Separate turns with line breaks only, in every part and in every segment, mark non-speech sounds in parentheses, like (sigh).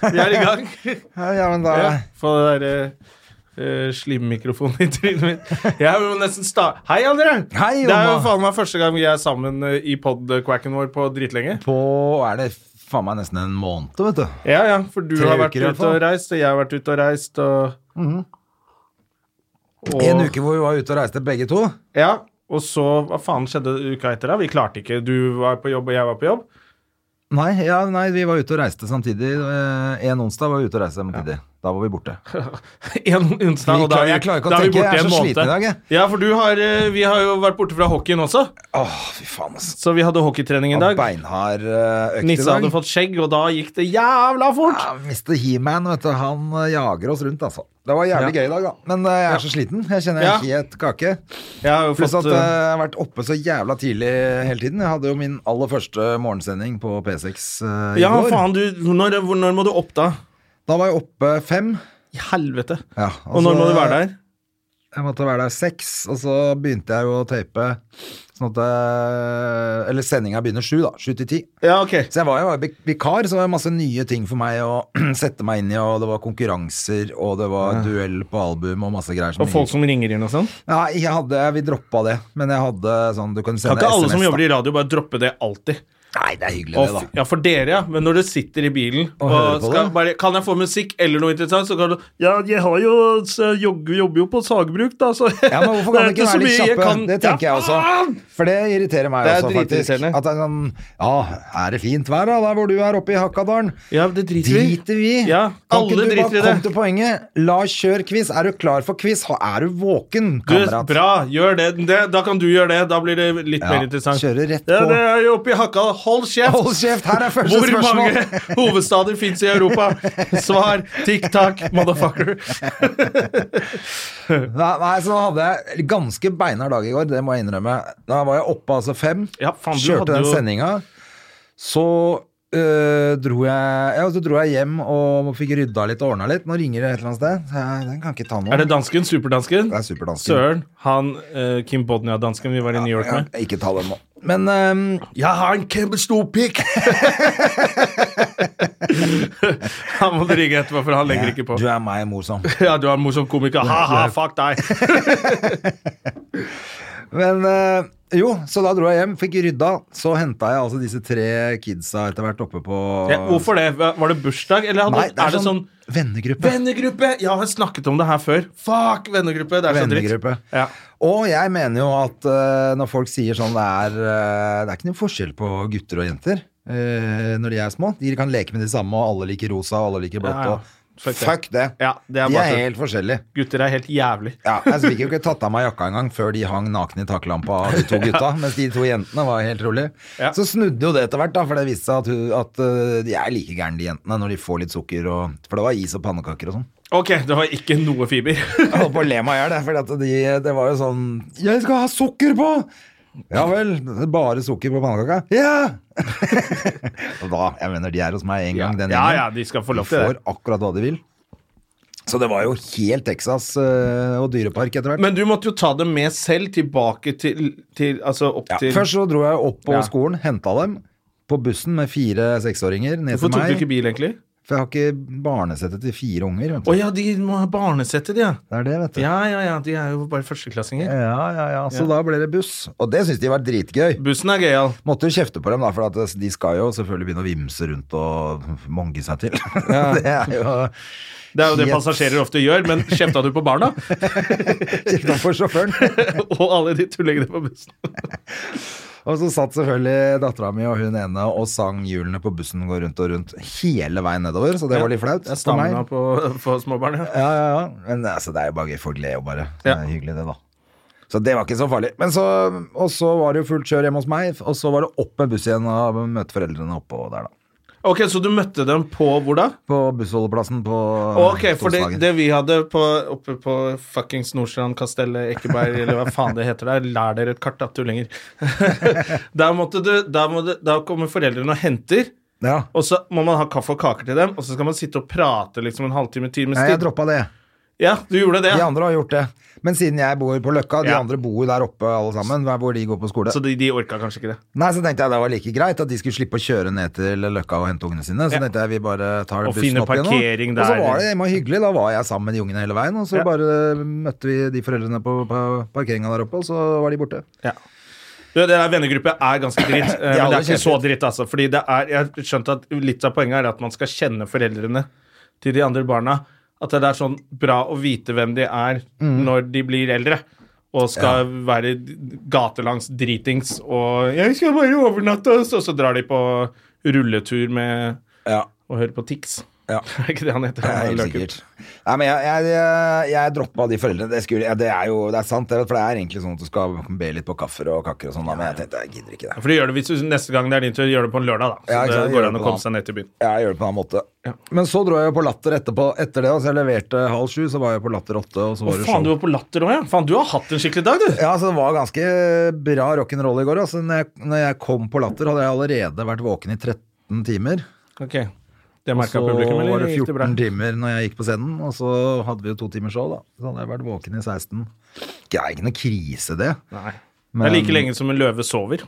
Vi er i gang.
Ja, ja, men da
(laughs) Ja, Få den der eh, eh, slimmikrofonen i trynet mitt. Jeg må nesten sta... Hei, André!
Hei,
det er jo
Jonna.
faen meg første gang vi er sammen eh, i podquacken vår på dritlenge.
På er det faen meg nesten en måned, vet du.
Ja, ja, for du
Tre
har vært
uker i hvert
ute og
fall. Mhm.
reist, og jeg har vært ute og reist, og og,
En uke hvor vi var ute og reiste begge to.
Ja, og så Hva faen skjedde uka etter, da? Vi klarte ikke. Du var på jobb, og jeg var på jobb. (laughs)
Nei, ja, nei vi var ute og reiste samtidig. Eh, En onsdag var vi ute og reiste samtidig. Da var vi borte.
En onsdag,
Vi
og da
klarer-
er vi,
jeg klarer ikke å
da er vi
tenke, jeg
borte
er
en
så
måned.
sliten i dag, jeg.
Ja, for du har eh, Vi har jo vært borte fra hockeyen også,
Åh, fy faen, ass.
så vi hadde hockeytrening i
Og
dag.
beinhard eh, økt i
Nisse
dag.
hadde fått skjegg, og da gikk det jævla fort!
Ja, Mr. He-Man, vet du, han eh, jager oss rundt, altså. Det var jævlig gøy i dag, da. Men eh, jeg er så sliten. Jeg kjenner jeg er helt kake.
Jeg har jo
Pluss
fått
at eh,
eh,
jeg har vært oppe så jævla tidlig hele tiden. Jeg hadde jo min aller første morgensending på P6 eh, i
Ja,
går.
faen, du Når, hvor- når må du opp, da?
Da var jeg oppe fem.
I helvete.
Ja,
Og når
altså,
må du være der?
Jeg måtte være der seks, og så begynte jeg jo å tape sånn at eh, Eller sendinga begynner sju, da. Sju til ti.
Ja, ok.
Så jeg var jo vik- vikar, så det var masse nye ting for meg å (clears throat) sette meg inn i, og det var konkurranser, og det var duell på album og masse greier. som
Og folk
jeg-
som ringer inn og sånn?
Nei, jeg hadde, vi droppa det, men jeg hadde sånn Du kan
Kan
sende
ikke alle som
SMS,
jobber
da.
i radio, bare droppe det alltid?
Nei, det er hyggelig,
Og
det, da.
f- ja, for dere, ja. Men når du sitter i bilen og,
hører på
skal
det.
bare Kan jeg få musikk eller noe interessant, så kan du Ja, jeg har jo så jeg jogger- jobber jo på sagbruk, da, så
Ja, men
(laughs)
Hvorfor kan vi ikke
så
være litt
mye jeg
kjappe?
kan-
Det tenker
Ja,
jeg også.
faen!
For det irriterer meg
Det er
også, faktisk.
dritirriterende.
At det er sånn Ja, er det fint vær da, der hvor du er oppe i Hakadalen?
Ja, det driter vi i.
Driter vi i.
Ja,
Kan
alle
ikke du
driter i
bare
det.
komme til poenget? La oss kjøre quiz. Er du klar for quiz? Ha- Er du våken,
Du,
kamerat?
bra, gjør det. det. Da kan du gjøre det. Da blir det litt
Ja,
mer interessant.
kjører rett
Ja,
på.
det er jo oppi hakka. Hold kjeft!
Hold kjeft, her er første
Hvor
spørsmål.
mange hovedstader fins i Europa? Svar tikk-takk, motherfucker.
Nei, nei, så hadde jeg ganske beinhard dag i går, det må jeg innrømme. Da var jeg oppe altså fem,
Ja, faen, du
kjørte
hadde
den
jo-
sendinga. Så øh, dro jeg Ja, så dro jeg hjem og fikk rydda litt og ordna litt. Nå ringer det et eller annet sted. Så jeg, den kan ikke ta nå.
Er det dansken? Superdansken?
Det er superdansken.
Søren. Han eh, Kim Bodnia-dansken vi var i New York med.
Ja, ikke ta den nå. Men øhm,
Jeg har en kjempestor
(laughs)
pikk! han må ringe etterpå, for han legger ikke på.
du er meg, morsom.
Ja, du er en morsom komiker. Ha-ha, fuck deg!
Men øh, jo, så da dro jeg hjem, fikk rydda. Så henta jeg altså disse tre kidsa etter hvert oppe på
Ja, hvorfor det? Var det bursdag, eller hadde,
Nei, det er,
er det
sånn,
sånn
vennegruppe.
Vennegruppe! Ja, jeg har snakket om det her før. Fuck, vennegruppe! Det er så dritt.
Vennegruppe.
Ja.
Og jeg mener jo at eh, når folk sier sånn det er, eh, det er ikke noen forskjell på gutter og jenter eh, når de er små. De kan leke med de samme, og alle liker rosa, og alle liker blått.
Ja, ja.
Og
Fuck
fuck,
det.
det.
Ja, det er
de
bare
er
tull.
helt forskjellige.
Gutter er helt jævlig.
Ja, jeg fikk jo ikke tatt av meg jakka engang før de hang nakne i taklampa, de to
(laughs)
gutta. Mens de to jentene var helt rolig.
Ja.
Så snudde jo det etter hvert, da, for det viste seg at, hun, at eh, de er like gærne, de jentene, når de får litt sukker og For det var is og pannekaker og sånn.
Ok, det var ikke noe fiber. (laughs)
Jeg holdt på å le meg i hjel, jeg, fordi at de, det var jo sånn Jeg skal ha sukker på! Ja vel. Bare sukker på pannekaka? Ja! (laughs) Og da Jeg mener, de er hos meg en gang, den
ja, ja,
gjengen.
de skal få
De
lov til
får
det.
akkurat hva de vil. Så det var jo helt Texas eh, og dyrepark etter hvert.
Men du måtte jo ta dem med selv tilbake til, til Altså opp
Ja,
til
først så dro jeg opp på
Ja.
skolen, henta dem på bussen med fire seksåringer ned
Hvorfor
til
tok du
meg.
ikke bil, egentlig?
For jeg har ikke barnesettet til fire unger. Vet
Å
du.
ja, de må ha barnesette, de, ja.
Det er det, vet du.
Ja, ja, ja, de er jo bare førsteklassinger.
Ja, ja, ja. Så da ble det buss. Og det syns de var dritgøy.
Bussen er gøyal.
Måtte jo kjefte på dem, da, for at altså, de skal jo selvfølgelig begynne å vimse rundt og mange seg til. (laughs) det er jo
Det er jo det
Helt-
passasjerer ofte gjør, men kjefta du på barna? (laughs)
kjefta for sjåføren.
Og alle de tullingene på bussen.
Og så satt selvfølgelig dattera mi og hun ene og sang hjulene på bussen går rundt og rundt hele veien nedover, så det var litt flaut
Det er
for meg.
stamina på, på småbarn, ja.
Ja, ja, ja. Men altså, det er jo bare gøy. Folk ler jo bare. Det
Ja.
er hyggelig, det, da. Så det var ikke så farlig. Men så, og så var det jo fullt kjør hjemme hos meg, og så var det opp med buss igjen og møte foreldrene oppå der, da.
Ok, Så du møtte dem på hvor da?
På bussholdeplassen på
Ok, for det,
Torsdagen.
det vi hadde på, oppe på fuckings Nordstrand Kastellet Ekeberg, eller hva faen det heter der, lær dere et kart, da, tullinger. (laughs) der, måtte du, der, må du, der kommer foreldrene og henter,
Ja.
og så må man ha kaffe og kaker til dem, og så skal man sitte og prate liksom en halvtime, times
Nei, jeg
tid.
droppa det.
Ja, du gjorde
De
det, ja.
andre har gjort det. Men siden jeg bor på Løkka, de
Ja.
andre bor der oppe alle sammen, hver hvor de går på skole.
Så de, de orka kanskje ikke det.
Nei, så tenkte jeg det var like greit at de skulle slippe å kjøre ned til Løkka og hente ungene sine. Så
Ja.
tenkte jeg vi bare tar
Og
bussen
finne
opp igjen.
parkering
nå. Og så
der.
var det hjemme hyggelig, da var jeg sammen med de ungene hele veien, og så
Ja.
bare eh, møtte vi de foreldrene på, på parkeringa der oppe, og så var de borte.
Ja. Du, det der vennegruppe er ganske
(clears throat)
dritt,
er
eh, men det
alle
er ikke så
kjempe-
dritt, altså. Fordi det er, jeg har skjønt at litt av poenget er at man skal kjenne foreldrene til de andre barna. At det er sånn bra å vite hvem de er
Mm.
når de blir eldre. Og skal være gatelangs dritings og 'Jeg skal bare overnatte', og så, så drar de på rulletur med
Ja.
å høre på Tix. (laughs)
Ja.
er ikke det han heter?
Det er helt
Løken.
sikkert. Nei, men jeg, jeg, jeg droppa de foreldrene. Det, skulle, ja, det er jo det er sant, det, for det er egentlig sånn at du skal be litt på kaffer og kakker og sånn, da, men jeg tenkte jeg gidder ikke det.
For du gjør det hvis du, neste gang det er din tur, gjør det på en lørdag, da. Så
Ja, ikke sant,
det
gjør
går
det
an å
på
komme
en
seg ned til byen.
Ja, jeg gjør det på en annen måte.
Ja.
Men så dro jeg jo på Latter etterpå, etter det. Altså jeg leverte halv sju, så var jeg på Latter åtte, og så
Å,
var det
faen, du
show.
var på Latter òg, ja? Faen, du har hatt en skikkelig dag, du.
Ja, så det var ganske bra rock'n'roll i går. Altså, når, jeg, når jeg kom på Latter, hadde jeg allerede vært våken i 13 timer.
Ok. Det
Og så
merka publikum,
var
eller
det
gikk det bra?
14 timer når jeg gikk på scenen, og så hadde vi jo to timer show, da. Så hadde jeg vært våken i 16. Det er ikke noe krise, det.
Nei. Det
Men-
er like lenge som en løve sover.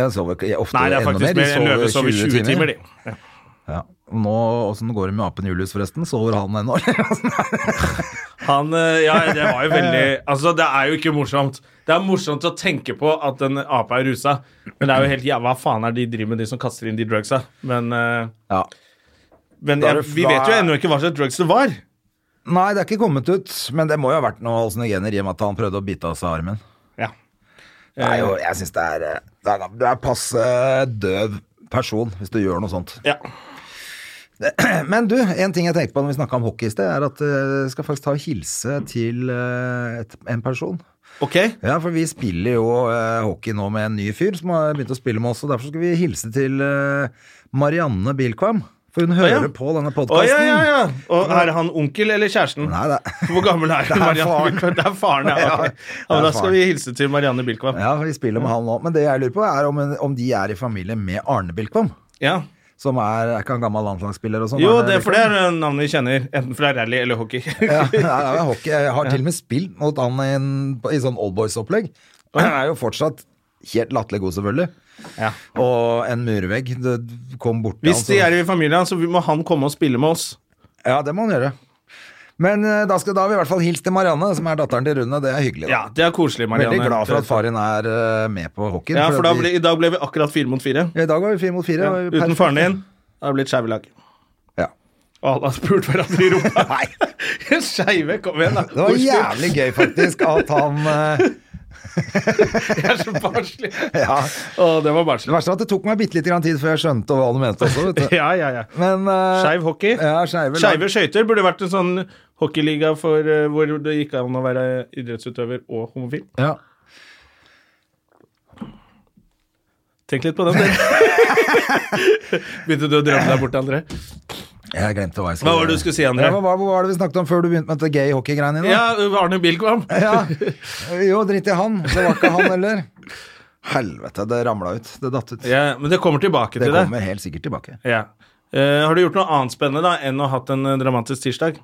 Jeg sover ikke- jeg- ofte
Nei, det er
enda
faktisk
mer.
mer. En løve sover 20 timer, de. Ja.
Ja. Og nå, åssen går det med apen Julius, forresten? Sover han ennå? (laughs)
Han eh, Ja, det var jo veldig Altså, det er jo ikke morsomt. Det er morsomt å tenke på at en ape er rusa, men det er jo helt jævla Hva faen er det de driver med, de som kaster inn de drugsa? Men, eh,
ja.
men
Da er
jeg,
det
vi
fra-
vet jo ennå ikke hva slags drugs det var.
Nei, det er ikke kommet ut, men det må jo ha vært noe halsinogener i og med at han prøvde å bite av seg armen.
Ja.
Det er jo, jeg syns det er eh, det er, det er passe døv person hvis du gjør noe sånt.
ja.
Eh, Men du, en ting jeg tenkte på når vi snakka om hockey i sted, er at eh, jeg skal faktisk ta og hilse til eh, et, en person.
Ok.
Ja, for vi spiller jo eh, hockey nå med en ny fyr som har begynt å spille med oss, og derfor skal vi hilse til eh, Marianne Bilkvam. For hun hører
ja.
på denne
Å,
podkasten.
ja, ja, ja. Og er han onkel eller kjæresten?
Nei, det er
Hvor gammel er
Det
hun?
er
Marianne
faren.
Bilkvam? Det er faren, ja.
Ja, det
ok. ja men
er
da skal
faren.
vi hilse til Marianne Bilkvam.
(laughs) Ja, vi spiller med han nå. Men det jeg lurer på, er om, om de er i familie med Arne Bilkvam.
Ja.
Som er, er ikke han gammel landslagsspiller og sånn?
Jo,
Arne
det, for det
Bilkvam?
er eh, navnet vi kjenner, enten fra rally eller hockey. (laughs)
(laughs) Ja, det er jo hockey. Jeg har til og med spilt mot han i, en, i sånn oldboys-opplegg. Og Han er jo fortsatt helt latterlig god, selvfølgelig.
Ja.
Og en murvegg. Det kom bort til
Hvis de
han,
er i familien, så vi- må han komme og spille med oss.
så Ja, det må han gjøre. Men eh, da, skal, da har vi i hvert fall hilst til Marianne, som er datteren til Rune. Det er hyggelig.
Ja,
Da.
Det er koselig, Marianne.
Veldig glad for at far din er eh, med på hockeyen.
Ja,
for
for
at
da
vi-
ble, I dag ble vi akkurat fire mot fire.
Ja, I dag var vi fire mot fire.
Ja.
og vi-
Uten faren din hadde det blitt skeive lag.
Ja.
Og alle har spurt hverandre i rumpa.
(laughs) Nei.
(laughs) Skeive, kom igjen, da.
Det var
Oslo. (laughs)
jævlig gøy, faktisk, at han eh, (laughs)
Jeg er så barnslig.
Ja.
Å, det var
Det
barnslig.
verste var at det tok meg bitte litt grann tid før jeg skjønte hva du mente også, vet
(laughs)
du.
Ja, ja, ja.
Men eh,
Skeiv hockey.
Ja, skeive. lag.
Skeive skøyter burde vært en sånn hockeyliga for, eh, hvor det gikk an å være idrettsutøver og homofil.
Ja.
Tenk litt på den, dere.
(laughs)
Begynte du å drømme deg bort, André?
Jeg glemte hva jeg skulle
Hva var det du skulle si, André?
Ja, hva, hva var det vi snakket om før du begynte med dette gay hockey-greiene dine?
Ja, Arne Bilkvam.
Ja. (laughs) Jo, drit i han. Det var ikke han heller. Helvete, det ramla ut. Det datt ut.
Ja, men det kommer tilbake
Det
til det.
kommer helt sikkert tilbake.
Ja. Eh, har du gjort noe annet spennende da enn å ha hatt en eh, dramatisk tirsdag?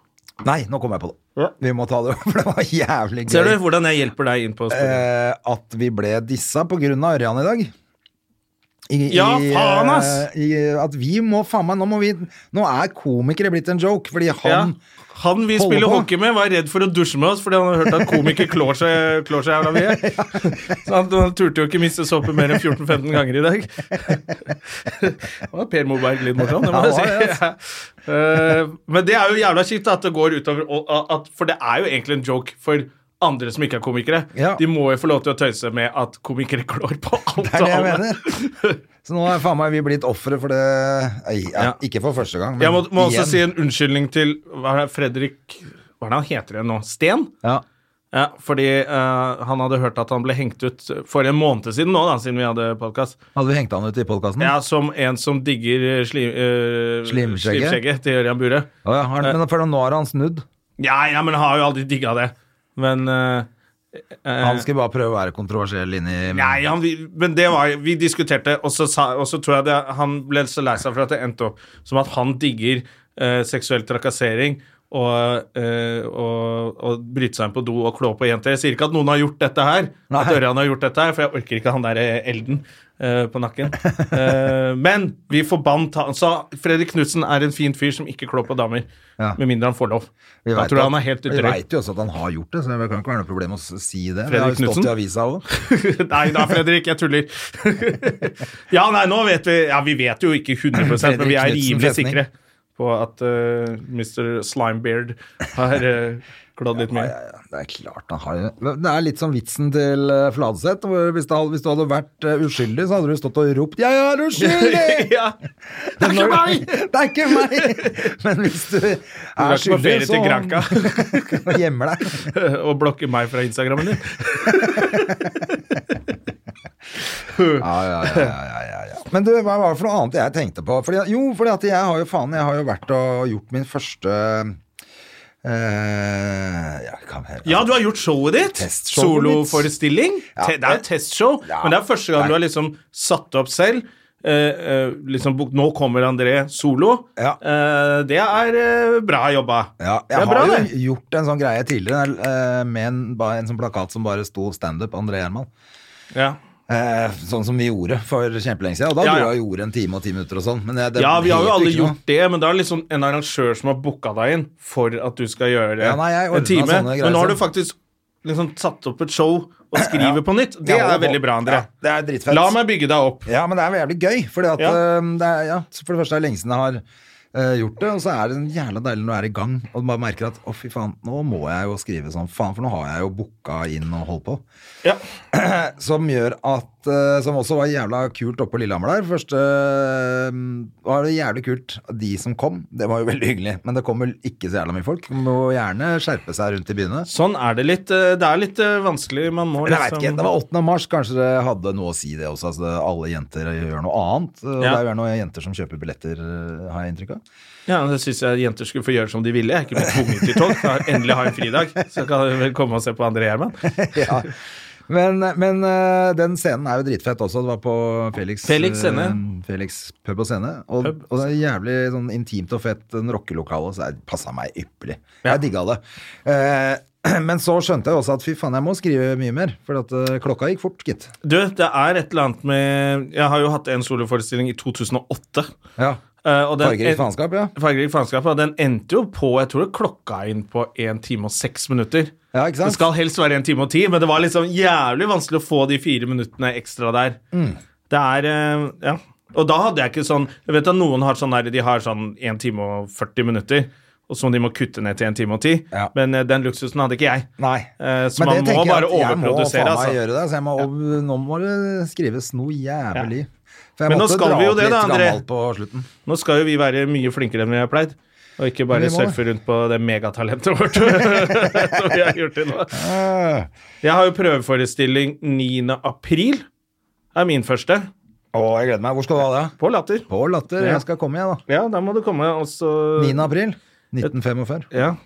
Nei, nå kom jeg på det.
Ja.
Vi må ta det (laughs) opp, for det var jævlig gøy.
Ser du hvordan jeg hjelper deg inn på sporet?
eh, at vi ble dissa på grunn av Ørjan i dag. I-
Ja,
i,
faen, ass!
eh, I, at vi må, faen meg, nå må vi Nå er komikere blitt en joke, fordi han
ja. Han vi
Holder
spiller
på.
hockey med, var redd for å dusje med oss fordi han hadde hørt at komiker klår seg, klår
(laughs)
seg jævla mye. Så han, han turte jo ikke miste såpe mer enn 14-15 ganger i dag. (laughs) Det var Per Moberg litt morsom, det må
Ja, det altså. var
jeg
det,
si. Ja. (laughs) Eh, Men det er jo jævla kjipt at det går utover og at, For det er jo egentlig en joke for andre som ikke er komikere.
Ja.
De må jo få lov til å tøyse med at komikere klår
(laughs)
på (laughs) alt
Det er
og
det jeg
alle.
mener. Så nå er faen meg vi blitt ofre for det Ei, ja,
Ja.
Ikke for første gang, men
Jeg må, må også
igjen.
si en unnskyldning til hva er det, Fredrik Hva er det han heter igjen nå? Sten?
ja.
Ja, fordi eh, han hadde hørt at han ble hengt ut for en måned siden nå, da, siden vi hadde podkast.
Hadde vi hengt han ut i podkasten?
Ja, som en som digger slim, eh,
Slimskjegget?
slimskjegget til Ørjan Bure.
Å ja,
Eh.
har han- men for nå har han snudd.
Ja, ja, men han har jo aldri digga det. Men eh, eh,
Han skulle bare prøve å være kontroversiell inni
Nei, han, vi- men det var Vi diskuterte, og så, sa, og så tror jeg det, han ble så lei seg for at det endte opp som at han digger eh, seksuell trakassering og, eh, og, og bryte seg inn på do og klå på jenter. Jeg sier ikke at noen har gjort dette her, at
Nei.
Ørjan har gjort dette her, for jeg orker ikke han der eh, elden eh,
(laughs)
på nakken. Eh, men vi forbandt han. Så Fredrik Knutsen er en fin fyr som ikke klår på damer,
Ja.
med mindre han får lov.
Vi
Da
vet
tror
at-
jeg han er helt
Vi
drøy.
veit jo også at han har gjort det, så det kan ikke være noe problem å s- si det. Det har jo
Fredrik
stått
Knudsen?
i avisa òg.
(laughs) nei da, Fredrik, jeg tuller. (laughs) ja, nei, nå vet vi Ja, vi vet jo ikke
(laughs)
100 men vi er
Fredrik Knudsen
rimelig
festning.
sikre på at eh, Mr. Slimebeard har eh, klådd litt mye.
Det er klart han har jo Det er litt som vitsen til eh, Fladseth. hvor Hvis, det hadde- hvis du hadde vært eh, uskyldig, så hadde du stått og ropt 'Jeg er
(laughs)
uskyldig!'
ja.
Det er ikke meg! Det er ikke meg! Men hvis du
drar
er
ikke på ferie
skyldig,
til
(laughs)
Granca.
så kan du gjemme deg.
(laughs) Og blokke meg fra Instagrammen din.
Ja, ja, ja, ja, ja, ja. Men du, hva var det for noe annet jeg tenkte på? Fordi, jo, fordi at jeg har jo faen, jeg har jo vært og gjort min første eh, ja, kan jeg,
Ja, du har gjort showet ditt.
Testshowet mitt.
Soloforestilling.
Ja.
Te- Det er jo testshow,
Ja.
men det er første gang
Nei.
du har liksom satt opp selv. Eh, eh, liksom, bok- nå kommer André solo.
Ja.
Eh, det er eh, bra jobba.
Ja,
det
jeg
er bra,
har
det.
jo gjort en sånn greie tidligere eh, med en, ba- en sånn plakat som bare sto 'standup André Gjerman'.
Ja.
Eh, sånn som vi gjorde for kjempelenge siden. Og da
Ja,
dro
ja.
jeg og gjorde en time og ti minutter og sånn. Men det, det
ja, vi har jo
het
alle
ikke noe.
gjort det, men det er liksom en arrangør som har booka deg inn for at du skal gjøre
Ja, nei, jeg ordnet
en time.
sånne greier sånn.
Men nå har du
selv.
faktisk liksom satt opp et show og skriver på nytt. Det
Ja,
er
og-
veldig bra, André.
Ja, det er dritfett.
La meg bygge deg opp.
Ja, men det er jævlig gøy. Fordi at,
Ja.
eh, det er, ja, for det første er det lenge siden jeg har eh, gjort det, og så er det en jævla deilig når du er i gang og du bare merker at å, fy faen, nå må jeg jo skrive sånn, faen, for nå har jeg jo booka inn og holdt på.
Ja.
Som gjør at eh, Som også var jævla kult oppe på Lillehammer der. Første eh, var det jævlig kult. De som kom, det var jo veldig hyggelig, men det kom vel ikke så jævla mye folk. Må gjerne skjerpe seg rundt i byene.
Sånn er det litt. eh, Det er litt eh, vanskelig. Man må liksom
Men jeg vet ikke, Det var 8. mars, kanskje det hadde noe å si det også. Altså, alle jenter gjør noe annet. Og
Ja.
det er jo noen jenter som kjøper billetter, eh, har jeg inntrykk av.
Ja, Det syns jeg jenter skulle få gjøre som de ville. Jeg er ikke blitt tvunget til tolk. Jeg har Endelig har jeg en fridag, så kan jeg vel komme og se på André Gjerman.
ja. Men, men eh, den scenen er jo dritfett også. Det var på Felix
Felix scene.
eh, Felix pub og scene. Og,
Pub.
og det er jævlig sånn intimt og fett den rockelokale, så det passa meg ypperlig.
Ja.
Jeg digga det. Eh, (clears throat) men så skjønte jeg også at fy faen, jeg må skrive mye mer. For at eh, klokka gikk fort, gitt.
Du, det er et eller annet med Jeg har jo hatt en soloforestilling i 2008.
Ja.
eh, og den-
Fargerikt faenskap, ja.
Fargerik faenskap, ja, den endte jo på Jeg tror det klokka inn på 1 time og 6 minutter.
Ja, ikke sant?
Det skal helst være 1 time og 10, men det var liksom jævlig vanskelig å få de fire minuttene ekstra der.
Mm.
Det er eh, Ja. Og da hadde jeg ikke sånn Jeg vet at noen har sånn der De har sånn 1 time og 40 minutter, og som de må kutte ned til 1 time og 10,
Ja.
men eh, den luksusen hadde ikke jeg.
Nei.
Eh, så
Men
man
det
må
tenker jeg
bare
at jeg må
overprodusere,
faen meg
altså.
Gjøre det, så jeg må, og Nå må det skrives noe jævlig. For jeg
Men nå
måtte
skal
dra
vi jo
opp
det
litt
da, André.
gammalt på slutten.
Nå skal jo vi være mye flinkere enn vi har pleid. Og
Vi
ikke
må
bare
det.
surfe rundt på det megatalentet vårt (laughs) som vi har gjort til nå.
Eh,
Jeg har jo prøveforestilling 9. april. Det er min første.
Å, jeg gleder meg. Hvor skal du ha det?
På Latter.
På Latter.
Ja.
Jeg skal komme, jeg, da.
Ja, da må du komme, og så
9. april 1945.
Ja.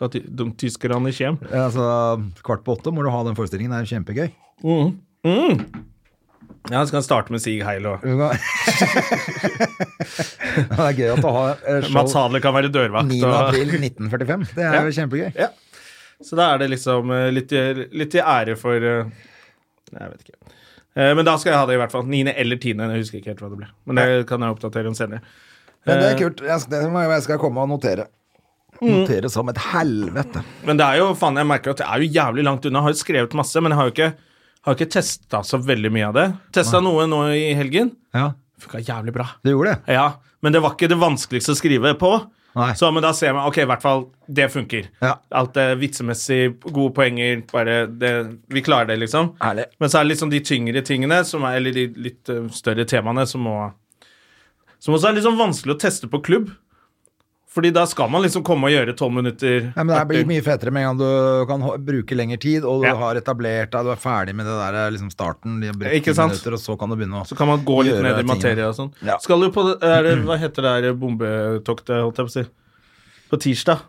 Da ty de tyskerne kjem.
Altså, kvart på åtte må du ha den forestillingen. Det er jo kjempegøy.
Ja, så kan jeg starte med Sig Heil og
Du kan- (laughs) det er gøy at du har eh,
Mats
show
Hadler kan være dørvakt.
9.
Og,
april 1945. Det er jo kjempegøy.
ja. (laughs) Eh. Så da er det liksom eh, litt, i- litt til ære for eh, Nei, jeg vet ikke. Eh, Men da skal jeg ha det, i hvert fall. 9. eller 10. Jeg husker ikke helt hva det ble. Men det kan jeg oppdatere om senere.
Men det er kult. Jeg skal, det må jeg- jeg skal komme og notere.
Mm.
Notere som et helvete.
Men det er jo, faen, jeg merker at det er jo jævlig langt unna. Jeg har jo skrevet masse, men jeg har jo ikke, har ikke testa så veldig mye av det. Testa noe nå i helgen.
Ja,
Funka jævlig bra.
du gjorde det.
Ja, Men det var ikke det vanskeligste å skrive på.
Nei.
Så, men da ser jeg meg, ok, i hvert fall, det funker.
Ja.
Alt det vitsemessig, gode poenger, bare det, Vi klarer det, liksom.
Ærlig.
Men så er det liksom de tyngre tingene, som er, eller de litt eh, større temaene, som må Som også er litt sånn vanskelig å teste på klubb. Fordi da skal man liksom komme og gjøre tolv minutter.
Ja, men Det blir mye fetere med en gang du kan ho- bruke lengre tid, og du
Ja.
har etablert deg, du er ferdig med det der liksom starten, de har brukt
Ikke
ti
sant?
minutter, og så kan du begynne å
Så kan man gå litt
gjøre
ned i
tingene.
materie og sånn.
Ja.
Skal du på det,
(clears throat)
er det, Hva heter det der bombetoktet, holdt jeg på å si? På tirsdag?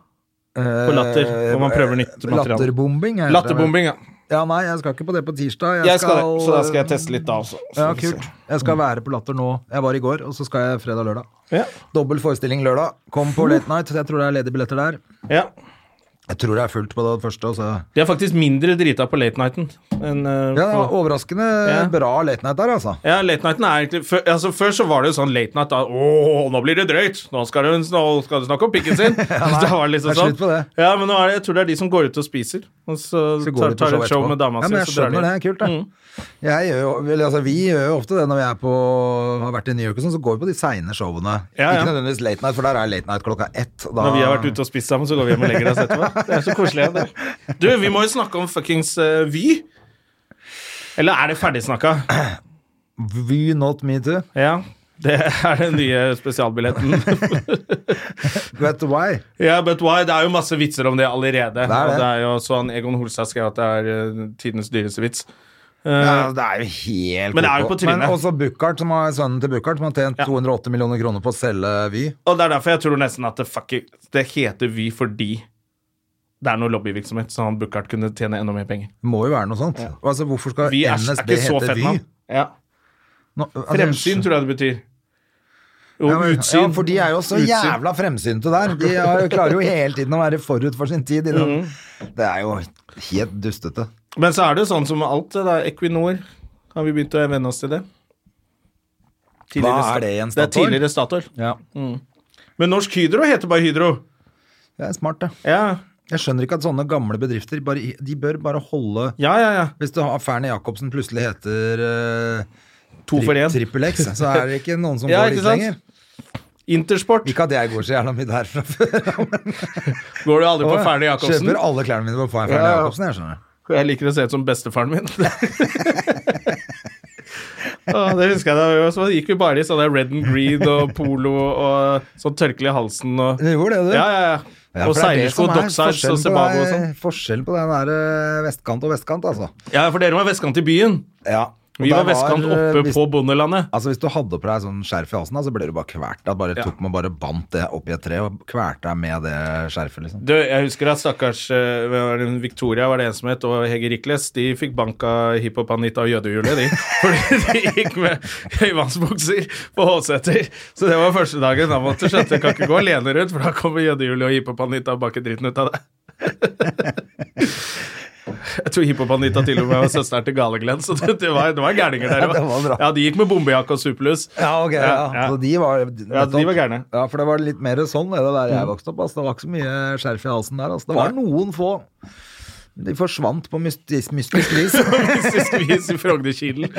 På Latter, hvor man prøver nytt materiale.
Eh, Latterbombing? er det.
Latterbombing, ja.
Ja, nei, jeg skal ikke på det på tirsdag.
Jeg skal, det, så da skal jeg teste litt da også. Så
Ja,
vi får
kult. Jeg skal være på Latter nå. Jeg var i går, og så skal jeg fredag-lørdag.
se. Ja.
Dobbel forestilling lørdag. Kom på Late Night. Jeg tror det er ledige billetter der.
ja.
Jeg tror det er fullt på det første. altså. Og så.
De er faktisk mindre drita på late nighten enn eh,
Ja, det var
på
overraskende
Ja.
bra Late Night der, altså.
ja, late nighten er egentlig før, altså, Før så var det jo sånn late night da, Åh, nå blir det drøyt! Nå skal du, nå skal du snakke om
(laughs)
pikken sin!
nei,
Da var det
det
liksom
er
sånn.
slutt på det.
Ja, men nå er det, jeg tror det er de som går ut og spiser, og så,
Så går de
tar,
på
tar
show
et show
etterpå.
med
ja,
dama
men jeg
så drar de Mm.
skjønner det.
hjem.
er Kult, det. Jeg gjør jo, vel, altså, vi gjør jo ofte det når vi er på, har vært i New York og sånn, så går vi på de seine showene.
Ja, ja.
Ikke nødvendigvis late night, for der er late night klokka ett. og Da,
Når vi har vært ute og spist sammen, så går vi hjem og legger oss etterpå. Det er så koselig. Det. Du, vi må jo snakke om fuckings eh, Vy. Eller er det ferdigsnakka?
Vy not me too.
Ja. Det er den nye spesialbilletten.
Vet du why?
(laughs) Ja, but why? Det er jo masse vitser om det allerede.
det.
Og det er jo sånn Egon Holstad skrev at det er eh, tidens dyreste vits. Eh,
Ja, altså, det er jo helt
Men det er jo
koko.
på trynet.
Men også Buchardt, som har sønnen til Buchardt, som har tjent
Ja.
208 millioner kroner på å selge Vy.
Og det er derfor jeg tror nesten at det, fucking, det heter Vy fordi det er noe lobbyvirksomhet, så han Buchardt kunne tjene enda mer penger.
Det må jo være noe sånt. Altså, hvorfor skal
Vy er, er
NSB
ikke så
hete
fett
Vy?
navn. Ja.
Nå, altså,
Fremsyn tror jeg det betyr. Jo,
Ja, men-
utsyn.
Ja, for de er jo så
Utsyn.
jævla fremsynte der. De har jo- klarer jo hele tiden å være forut for sin tid. i det.
Mm.
Det er jo helt dustete.
Men så er det jo sånn som med alt det der. Equinor. Har vi begynt å venne oss til det?
Hva er det igjen,
Det er
Statoil?
tidligere Statoil.
Ja.
Men Norsk Hydro heter bare Hydro.
Det er smart, det.
Ja,
Jeg skjønner ikke at sånne gamle bedrifter bare, De bør bare holde
ja, ja. ja.
Hvis du har Ferner Jacobsen plutselig heter
To for
uh,
én.
Trippel X, så er det ikke noen som
(laughs) Ja,
går
ikke
dit
sant?
lenger.
Intersport.
Ikke at jeg går så jævla mye der fra før.
Går du aldri på Fernie Jacobsen?
Kjøper alle klærne mine på Ferner
Ja.
Jacobsen, jeg skjønner.
Jeg liker å se ut som bestefaren (laughs) min. Å, det husker jeg da vi var små. Gikk vi bare i sånne red and green og polo og sånn tørkle i halsen og
Du gjorde det, du.
Ja, ja, ja.
Ja,
og
for det er det
seilersko,
som er
docksarge og
forskjellen på
sebabo og
deg-
sånn.
Forskjell på den der eh, vestkant og vestkant, altså.
Ja, for dere var vestkant i byen.
Ja.
Vi var vestkant oppe
eh, hvis,
på bondelandet.
Altså Hvis du hadde på deg sånn skjerf i halsen, da, så ble du bare kvert. Da bare tok man bare bandt det opp i et tre og kverte deg med det skjerfet, liksom.
Du, jeg husker at stakkars eh, hva var det, Victoria var det en som het, og Hege Rikles. De fikk banka hiphop-Anita og jødehjulet, (laughs) de. Fordi de gikk med høyvannsbukser på Håseter. Så det var første dagen. Da måtte du skjønne jeg kan ikke gå alene rundt, for da kommer jødehjulet og hiphop-Anita og baker dritten ut av (laughs) deg. Jeg tror hiphop-Anita til og med var søsteren til Gale-Glenn, så det, det var, det var gærninger der.
Ja, det var bra.
Ja, de gikk med bombejakke og superlus. (laughs)
Ja, ok, ja.
Ja, ja.
Så de var
Ja, de var gærne. Mm.
Ja, for det var litt mer sånn det der jeg vokste opp. Altså. Det var ikke så mye skjerf i halsen der. Altså. Det var noen få. De forsvant på mystisk, mystisk
(laughs)
vis.
Mystisk vis i Frognerkilen.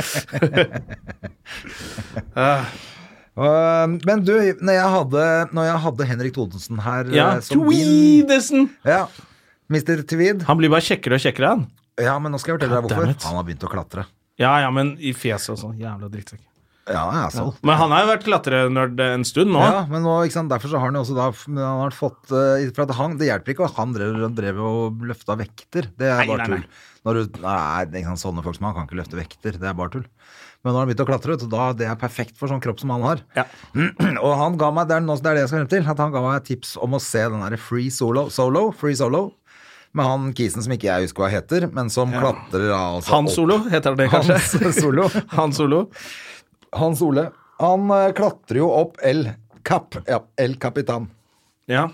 Uh, Men du, når jeg hadde, når jeg hadde Henrik Thodesen her
Ja.
eh, som din
Tweedesen!
ja, Mr. Tweed.
Han blir bare kjekkere og kjekkere, han.
Ja, men nå skal jeg fortelle deg
Goddammit.
hvorfor. Han har begynt å klatre.
Ja, ja, men i fjeset og sånn. Jævla drittsekk.
Ja, altså. asshole.
Men han har jo vært klatrenerd en stund nå.
Ja, men nå, ikke sant? derfor så har han jo også da men han har fått eh, for at han, Det hjelper ikke at han drev, drev og løfta vekter. Det er
Nei,
bare
nei, nei.
tull. Når du, nei, det er ikke sant, sånne folk som han kan ikke løfte vekter. Det er bare tull. Men nå har han begynt å klatre, ut, og da, det er perfekt for sånn kropp som han har.
Ja.
(clears throat) Og han ga meg, det er, nå- det er det jeg skal frem til, at han ga meg et tips om å se den derre Free Solo, solo Free Solo med han kisen som ikke jeg husker hva heter, men som klatrer da altså
Han
opp.
Solo heter det kanskje.
Hans
(laughs)
Solo.
Han Solo.
Hans Ole. Han eh, klatrer jo opp El Cap. Ja, El Capitan.
Ja.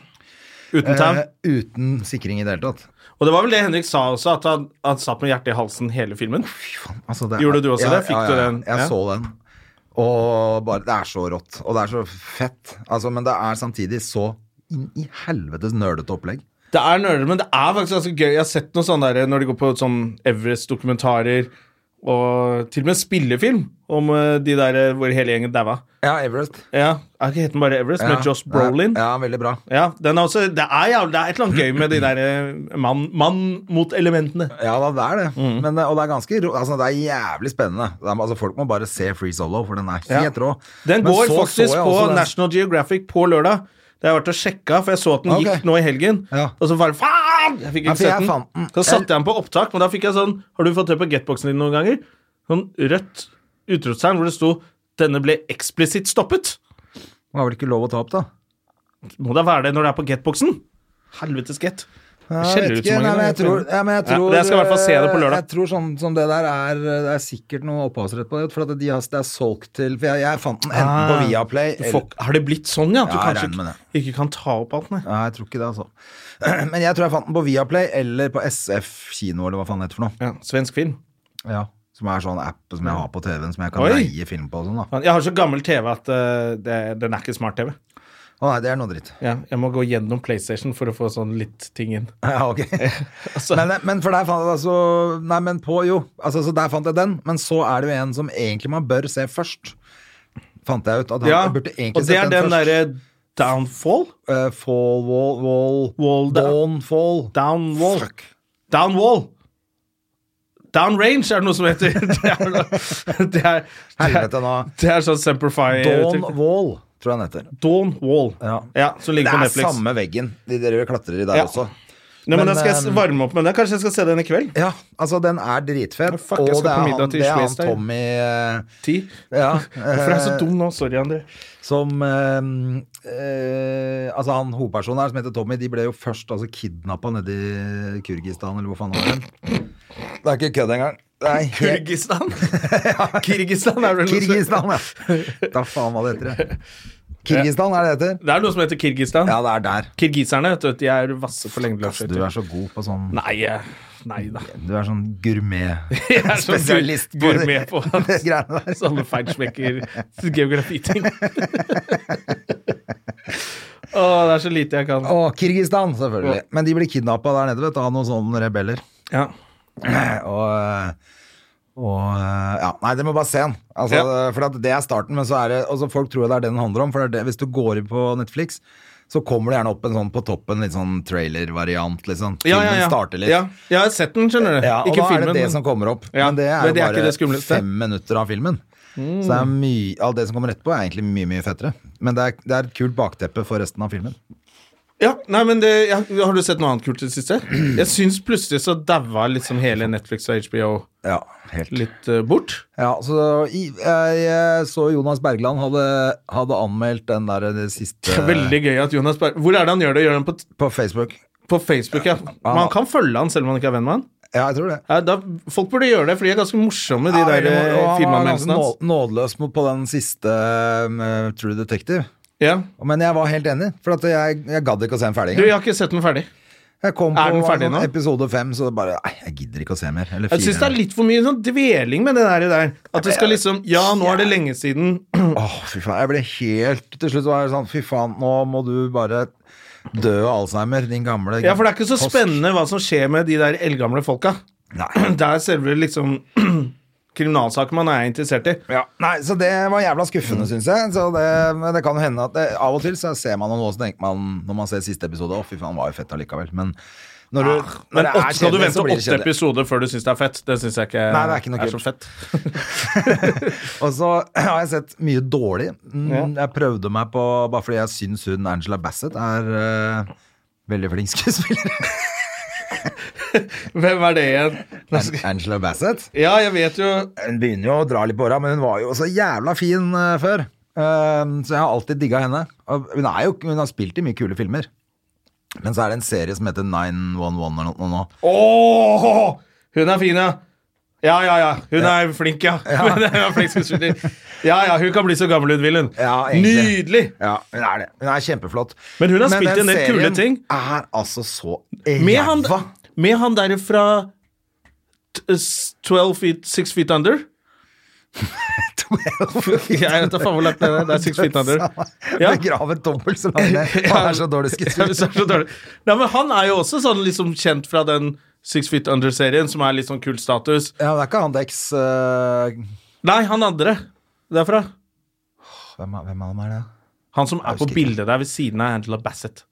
Uten tau.
Eh, uten sikring i det hele tatt.
Og det var vel det Henrik sa også, at han, han satt med hjertet i halsen hele filmen.
Altså, det
Gjorde du også det? Fikk du den?
Jeg
Ja.
så den. Og bare, Det er så rått. Og det er så fett. Altså, men det er samtidig så inn i helvetes nerdete opplegg.
Det er nerdere, men det er faktisk ganske gøy. Jeg har sett noe sånn der når de går på sånn Everest-dokumentarer, og til og med spillefilm om eh, de der eh, hvor hele gjengen daua.
Ja, Everest.
Ja, er ikke het den bare Everest,
Ja.
med Josh Brolin.
Ja, ja, veldig bra.
Ja, den er også, det, er, jævlig- det er et eller annet gøy med de der eh, mann mann mot elementene.
Ja, da, det er det.
Mm.
Men, eh, og det er ganske rå- altså, Det er jævlig spennende. Det er, altså, folk må bare se Free Solo, for den er helt
Ja.
rå.
Den
Men
går
så så
faktisk
jeg
på
også den-
National Geographic på lørdag. Det har jeg vært og sjekka, for jeg så at den
Ok.
gikk nå i helgen.
Ja.
Og så bare faen! Jeg fikk
Ja,
ikke
for jeg
sett
fant
den.
den.
Så satte jeg den på opptak, men da fikk jeg sånn Har du fått det på getboxen din noen ganger? Sånn rødt utropstegn hvor det sto 'Denne ble eksplisitt stoppet'.
Det var vel ikke lov å ta opp, da?
Må da være det når det er på getboxen? Helvetes get.
Ja,
Jeg skjeller
vet
ut så
ikke,
mange
nei, men jeg
ganger.
tror, ja, men jeg
Ja,
tror
men jeg skal i hvert fall se det på lørdag.
Jeg tror sånn som det der er eh, Det er sikkert noe opphavsrett på det, for at de har, det er solgt til For jeg, jeg fant den enten på
Ah,
Viaplay
Du
eller
får, har det blitt sånn, ja? At du
Ja, jeg
kanskje
regner med
ikke, ikke kan ta opp alt, nei.
Nei, jeg tror ikke det, altså. (clears throat) Men jeg tror jeg fant den på Viaplay eller på SF kino, eller hva faen det heter for noe.
Ja, svensk film.
Ja. Som er sånn app som jeg har på TV-en som jeg kan
Mm. Oi.
leie film på og sånn, da.
Jeg har så gammel TV at eh, det, den er ikke smart-TV.
Å nei, det er noe dritt.
Ja, jeg må gå gjennom PlayStation for å få sånn litt ting inn.
(laughs) Ja, ok.
altså.
men, eh, men for der fant jeg altså Nei, men på, jo. Altså, så der fant jeg den, men så er det jo en som egentlig man bør se først. Fant jeg ut. At han
Ja, og
burde egentlig
det
sett
er
den,
den
først.
derre Downfall?
Eh, fall, wall, wall,
Wall da-
Downfall.
Downwall.
Fuck.
Downwall! Downrange er det noe som heter. (laughs) Det er, det er, det
Helvete,
er,
nå.
det er sånn Semperfy-uttrykk.
Dawnwall, tror jeg den heter.
Dawnwall.
Ja.
som
Det
ligger på
er
Netflix.
samme veggen. De dere klatrer i der
Ja.
også.
Nei, men,
men,
da skal jeg
ehm,
varme opp med den. Kanskje jeg skal se den i kveld?
Ja, altså, den er dritfett.
Men fuck,
og
jeg skal
det
på
er
middag
han,
til
det er han
Schleswig.
Tommy eh,
Ti?
Ja.
(laughs) For jeg er så
eh,
dum nå. Sorry, André.
Som eh, eh, Altså, han hovedpersonen her som heter Tommy, de ble jo først altså, kidnappa nede i Kyrgyzstan, eller hvor faen det var. hen. Det er ikke kødd engang. Det er helt
Kyrgyzstan? (laughs) Kyrgyzstan altså. er vel noe som-
Kirgistan, ja. Da faen hva det heter. Kirgistan er det det heter.
Det er noe som heter Kyrgyzstan.
Ja, det er der.
Kirgiserne, vet du, de er vasse på
Ass, du
lengdeløpsskøyter.
er så god på sånn
Nei, eh, nei
(laughs)
da.
Du er sånn
(laughs) Jeg er sånn
gourmet-spesialist på det- (laughs)
gourmet på
det greiene der.
(laughs) sånne feinschmecker
(laughs)
geografiting. Å, det er så lite jeg kan.
Og Kirgistan, selvfølgelig. Men de blir kidnappa der nede, vet du, av noen sånne rebeller.
Ja.
Og, og Ja, nei, dere må bare se den. Altså,
Ja.
For at det er starten, men så er det altså, Folk tror det er det den handler om, for det er det, hvis du går inn på Netflix, så kommer det gjerne opp en sånn på toppen, litt sånn trailer-variant, liksom.
Ja, ja,
Filmen
ja.
starter litt.
ja. Jeg har sett den, skjønner du.
Ja, og
Ikke
da
filmen,
er det det
men
som kommer opp.
Ja,
men det er
men
jo
det er
bare
ikke det skumleste.
fem minutter av filmen. Så det er mye, alt det som kommer etterpå, er egentlig mye mye fettere. Men det er, det er et kult bakteppe for resten av filmen.
Ja, nei, men det, ja, Har du sett noe annet kult i det
(clears throat)
siste? Jeg syns plutselig så daua liksom hele Netflix og HBO
Ja, helt.
litt eh, bort.
Ja, så i, jeg, jeg så Jonas Bergland hadde, hadde anmeldt den der det siste
Det er (laughs) veldig gøy at Jonas Berg Hvor er det han gjør det? Gjør han på,
på Facebook.
på Facebook? Ja. Man kan følge han selv om man ikke er venn med han.
Ja, jeg tror det.
Ja, da, folk burde gjøre det, for de er ganske morsomme, de
Ja,
der
veldig moro.
eh,
Og han var ganske
filmanmeldelsene hans.
nå- nådeløs mot- på den siste eh, True Detective.
Ja.
Men jeg var helt enig, for at jeg, jeg gadd ikke å se den ferdig.
Du, jeg har ikke sett den ferdig.
Jeg kom på
Er den ferdig
sånn
nå?
episode fem, så det bare Nei, jeg gidder ikke å se mer. Eller
Jeg syns det er
fire.
litt for mye sånn dveling med det der. der. At det skal liksom Ja, nå er det lenge siden.
Åh, fy faen. Jeg ble helt Til slutt var jeg sånn Fy faen, nå må du bare dø av alzheimer, din gamle
Ja, for det er ikke så
kosk.
spennende hva som skjer med de der eldgamle folka. (clears throat)
Nei.
Det er selve liksom (clears throat) kriminalsaken man er interessert i.
Ja. Nei, så det var jævla
Mm.
skuffende, syns jeg. Så det, men det kan jo hende at det, av og til så ser man noe, så tenker man når man ser siste episode Å, fy faen, var jo fett allikevel. Men når du når
Ah, Men
det er
åtte, skal
kjedelig,
du
så
vente
blir det
åtte
kjedelig.
episoder før du syns det er fett? Det syns jeg ikke,
Nei, det er ikke noe
så
kult.
fett.
Og så (clears throat) har jeg sett mye dårlig. Mm, Jeg prøvde meg på Bare fordi jeg syns hun Angela Bassett er eh, veldig flink (laughs) skuespiller.
Hvem er det igjen?
Angela Bassett.
Ja, jeg vet jo
Hun begynner jo å dra litt på åra, men hun var jo så jævla fin eh, før. Ehm, så jeg har alltid digga henne. Og hun, er jo, hun har spilt i mye kule filmer. Men så er det en serie som heter 911 eller noe nå.
Åh, hun er fin, ja. Ja, ja, ja. Hun er flink, ja. (laughs) Hun er flink skuespiller. Ja, ja, hun kan bli så gammel hun vil, hun.
Ja, egentlig.
Nydelig!
Ja, hun er det. Hun er kjempeflott.
Men hun har spilt i
den
en del kule
serien
ting.
er altså så
Med han,
ræva.
med han der fra t- s- 12 feet, 6 feet (laughs) under. Jeg vet da faen hvor langt det er. Det er 6 feet under. (laughs) Ja.
Begravet dobbelt så langt ned. Han er så dårlig
(laughs) Ja, hvis det
skuespiller.
er så dårlig. Nei, men han er jo også sånn liksom kjent fra den Six Feet Under-serien, som er litt sånn kul status.
Ja, det er ikke han Dex eh,
Nei, han andre derfra.
hvem, er- hvem av dem er det?
Han som er på
husker ikke.
bildet der ved siden av Angela Bassett.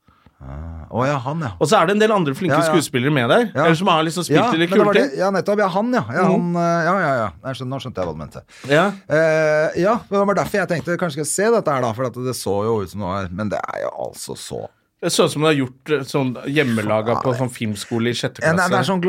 Å ja, han, ja.
Og så er det en del andre flinke
Ja, ja.
skuespillere med der.
Ja.
Eller som har liksom spilt
ja,
i litt
men det
kule
var det-
ting. Mhm.
Ja, nettopp. Ja, han, ja. ja, han, eh, ja, ja, ja. Jeg skjønner, nå skjønte jeg hva du mente.
Ja.
Eh, ja, det var derfor jeg tenkte kanskje skal jeg se dette her, da. For at det så jo ut som det var Men det er jo altså så
Det så ut som du har gjort eh, sånn hjemmelaga på sånn filmskole i sjette
Ja,
klasse.
nei, det er sånn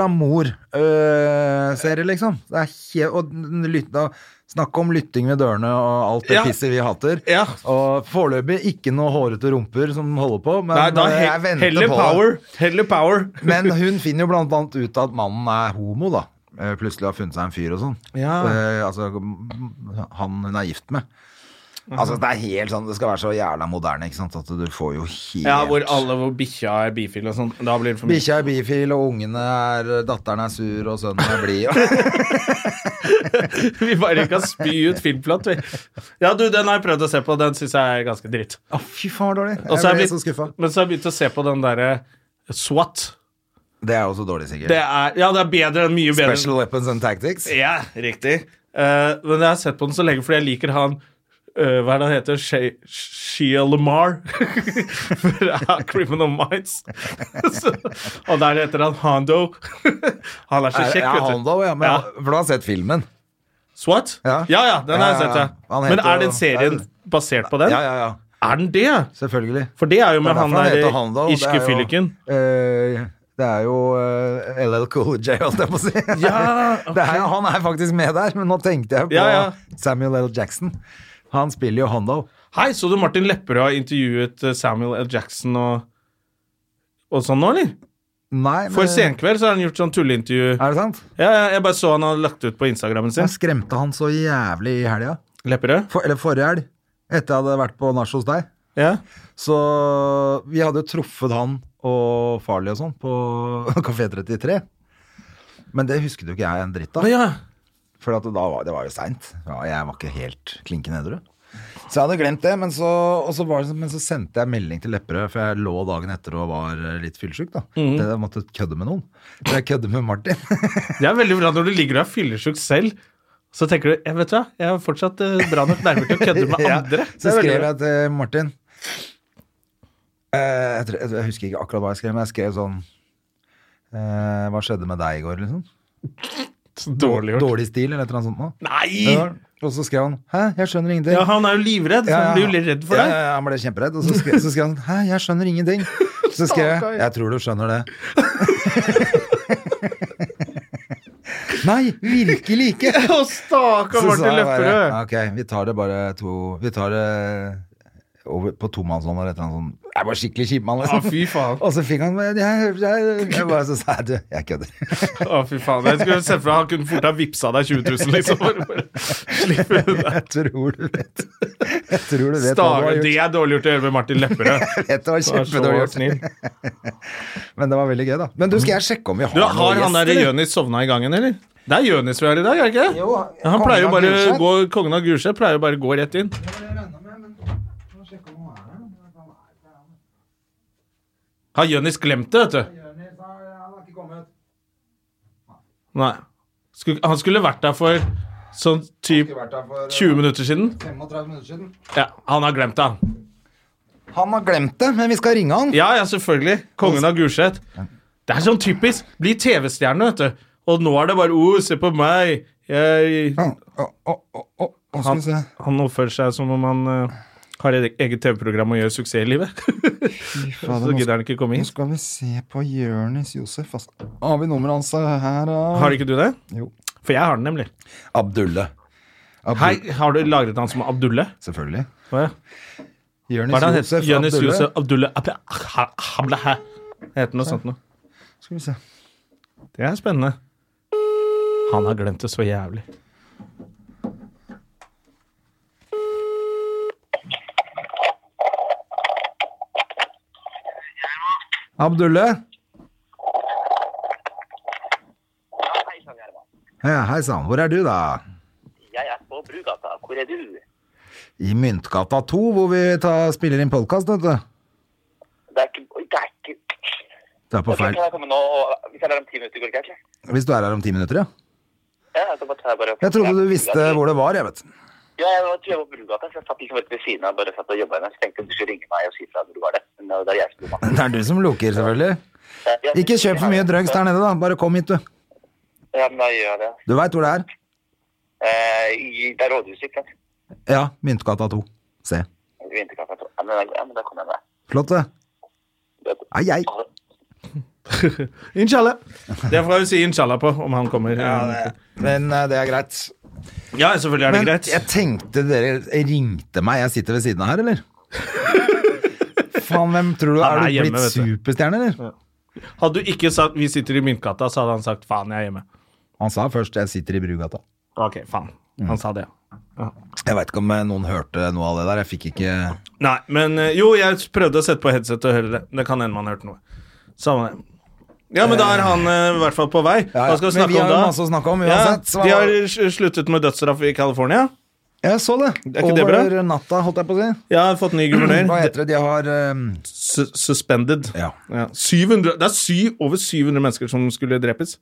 glamour-serie, liksom. Det er he og den lyt- da, Snakk om lytting ved dørene og alt det
Ja.
pisset vi hater.
Ja.
Og foreløpig ikke noe hårete rumper som holder på, men
Nei, da
eh, jeg
he
venter
heller
på
power. Heller power.
det. Men hun finner jo blant annet ut at mannen er homo, da. Eh, Plutselig har funnet seg en fyr og sånn.
Ja.
Eh, altså, m- han hun er gift med. Altså, det er helt sånn, det skal være så jævla moderne, ikke sant, at du får jo helt
Ja, hvor alle hvor bikkja er bifil og sånn. Da blir det for mye.
Bikkja er bifil, og ungene er Datteren er sur, og sønnen er
(laughs)
blid.
Vi bare kan spy ut filmplott, vi. Ja, du, den har jeg prøvd å se på. Den syns jeg er ganske dritt.
Å, fy faen, dårlig.
Og
Jeg
så har
ble
jeg
så skuffa.
begynt- men så har jeg begynt å se på den derre SWAT.
Det er også dårlig, sikkert.
Det er, ja, det er bedre. Mye bedre.
Special Weapons and Tactics.
Ja, riktig. Eh, men jeg har sett på den så lenge fordi jeg liker han eh, Hva er det han heter? Shea- Shia Lamar (laughs) fra Criminal Minds. (laughs) så, og der heter han Hondo. (laughs) han er så
Er-
kjekk,
ja,
vet du.
han da, ja, men,
Ja.
For du har sett filmen?
SWAT?
Ja.
ja, den
Ja,
har jeg
ja,
sett.
ja.
Ja.
Han
Men
heter
er den
jo-
serien basert på den?
Ja, ja, ja.
Er den det?
Selvfølgelig.
For det er jo
Det
med
er
han
derfor
der
heter Hondo, det er
irske
jo-
fylliken.
eh, det er jo eh, LL Cool J, holdt jeg på å si.
Ja,
(laughs)
ok.
det er, jo- han er faktisk med der, men nå tenkte jeg på
Ja, ja.
Samuel L. Jackson. Han spiller jo Hondo.
Hei, så du Martin Lepperød har intervjuet eh, Samuel L. Jackson og, og sånn nå, eller?
Nei, men,
For Senkveld så har han gjort sånn tulleintervju.
Er det sant?
Ja, ja, jeg bare så han hadde lagt ut på Instagrammen sin.
Jeg skremte han så jævlig i helga.
Lepperød.
For, eller forrige helg, etter jeg hadde vært på nach hos deg.
Ja.
Så vi hadde jo truffet han og Farley og sånn på (laughs) Kafé 33. Men det husket jo ikke jeg en dritt av.
ja.
For at da var, det var jo seint. Ja, jeg var ikke helt klinken edru. Så jeg hadde glemt det, men så, og så var det, sånn, men så sendte jeg melding til Lepperød, for jeg lå dagen etter og var eh, litt fyllesyk. da.
Mhm.
Det, jeg måtte kødde med noen. Så jeg kødder med Martin.
Det er veldig bra når du ligger og er fyllesyk selv, så tenker du jeg vet du hva, jeg er fortsatt eh, bra nok nærmere til å kødde med
(laughs) Ja,
andre.
Så
Det er veldig
skrev
bra.
jeg til Martin Eh, jeg, tror, jeg, jeg husker ikke akkurat hva jeg skrev, men jeg skrev sånn eh, Hva skjedde med deg i går, liksom?
Så dårlig gjort.
Dårlig stil, eller et eller annet sånt. nå.
Nei!
Ja, Og så skrev han 'hæ, jeg skjønner ingenting'.
Ja, han er jo livredd, så han blir jo litt redd for
ja,
deg.
Ja, ja, han ble kjemperedd. Og så skrev, så skrev han 'hæ, jeg skjønner ingenting'. Så skrev jeg 'jeg tror du skjønner det'. (laughs) Nei, virkelig ikke!
(laughs) Å, stakkar
Så sa
Martin
jeg bare,
Lepperød.
Ok, vi tar det bare to Vi tar det over på tomannshånd eller et eller annet sånt. Jeg var skikkelig kjip mann,
Å,
liksom.
fy faen.
og så fikk han jeg, jeg, jeg, jeg bare så sa jeg, du, jeg kødder. (laughs)
Å, fy faen. Jeg skulle sett for meg han kunne fort ha vippsa deg 20 000, liksom. Bare, bare slippe
(laughs)
unna.
Jeg tror du vet. Jeg tror du vet hva
Stakkar,
du har
det
gjort.
er dårlig gjort å gjøre med Martin Lepperød.
Dette var
Vær så
(laughs) kjempedårlig gjort.
snill.
Men det var veldig gøy, da. Men du, skal jeg sjekke om vi har,
Du, Har han der
eller?
Jonis sovna i gangen, eller? Det er Jonis vi har i dag, er det ikke? det?
Jo,
Ja, han
kongen
pleier jo
av
bare
Gulset.
gå, Kongen av Gulset pleier jo bare å gå rett inn. Har Jonis glemt det, vet du? Nei. Skulle, han skulle vært der for sånn typ 20 minutter siden.
35 eh, minutter siden.
Ja, han har glemt det, han.
Han har glemt det, men vi skal ringe han.
Ja, ja, selvfølgelig. Kongen av Gulset. Det er sånn typisk. Bli TV-stjerne, vet du. Og nå er det bare Å, se på meg. Jeg
Å, å, å, å, å, å, skal vi se.
Han oppfører seg som om han eh, har et eget TV-program og gjør suksess i livet. (laughs) så
nå
gidder han ikke komme
Nå
inn.
skal vi se på Jørnis Josef. altså. Har vi nummeret hans her? da?
Har ikke du det?
Jo.
For jeg har den nemlig.
Abdulle. Abdu-
Hei, har du lagret han som Abdulle?
Selvfølgelig.
Hva
Jørnis
hva er det han heter?
Josef
Jonis
Abdulle.
Josef Abdulle Abbe- Ha- Hamle Hæ? Heter noe sånt noe.
Skal vi se.
Det er spennende. Han har glemt det så jævlig.
Abdulle? Ja, hei sann. Hvor er du, da?
Jeg er på Brugata. Hvor er du?
I Myntgata 2, hvor vi tar, spiller inn podkast, vet du.
Det er ikke Det er ikke
Du er på
Ok, kan
feil.
jeg komme nå og Hvis jeg er der om ti minutter, går det greit? eller?
Hvis du er her om ti minutter, ja.
Ja, så bare tar jeg bare
Jeg trodde du visste hvor det var, jeg, vet du.
Ja, jeg var- tror jeg var på Brugata, for jeg satt liksom rett ved siden av bare satt og jobbet henne. Så tenkte jeg du skulle ringe meg og si fra når du var der. Men det er jeg som bor
Det er du som loker, selvfølgelig.
bak.
Ikke kjøp for mye drugs der nede, da. Bare kom hit, du.
Ja, men da gjør jeg det.
Du veit hvor det er?
Eh, i- det er rådhuset, ikke sant?
Ja, Myntgata 2. Se.
Vinterkaffe. Ja, men, da- ja, men da kommer jeg med.
Flott, det. Ai, ai.
Ha det.
Inshallah. Det får jeg jo si inshallah på, om han kommer.
Men eh, det er greit.
Ja, selvfølgelig er det
Men
greit.
jeg tenkte dere ringte meg. Jeg sitter ved siden av her,
(laughs)
eller? Faen, hvem tror du Er
Han er
du
hjemme,
blitt
vet du.
superstjerne, eller?
Hadde du ikke sagt 'vi sitter i Myntgata', så hadde han sagt 'faen, jeg er hjemme'.
Han sa først 'jeg sitter i Brugata'.
Ok, faen.
Mm.
Han sa det.
Jeg veit ikke om eh, noen hørte noe av det der. Jeg fikk ikke
Nei, men eh, jo, jeg prøvde å sette på headset og høre det. Det kan hende man hørte noe. Samme det. Ja, men da er han eh, i hvert fall på vei.
Ja, ja.
Hva skal vi
Men
snakke
vi har
om
jo
da?
masse å snakke om uansett, så-
Ja, de har sl- sluttet med dødsstraff i California.
Jeg så det.
Er ikke det
Over
bra?
natta, holdt jeg på å si.
Jeg har fått ny
Hva
guvernør.
heter det? De har eh,
Su- Suspended.
Ja.
700, det er syv, over 700 mennesker som skulle drepes.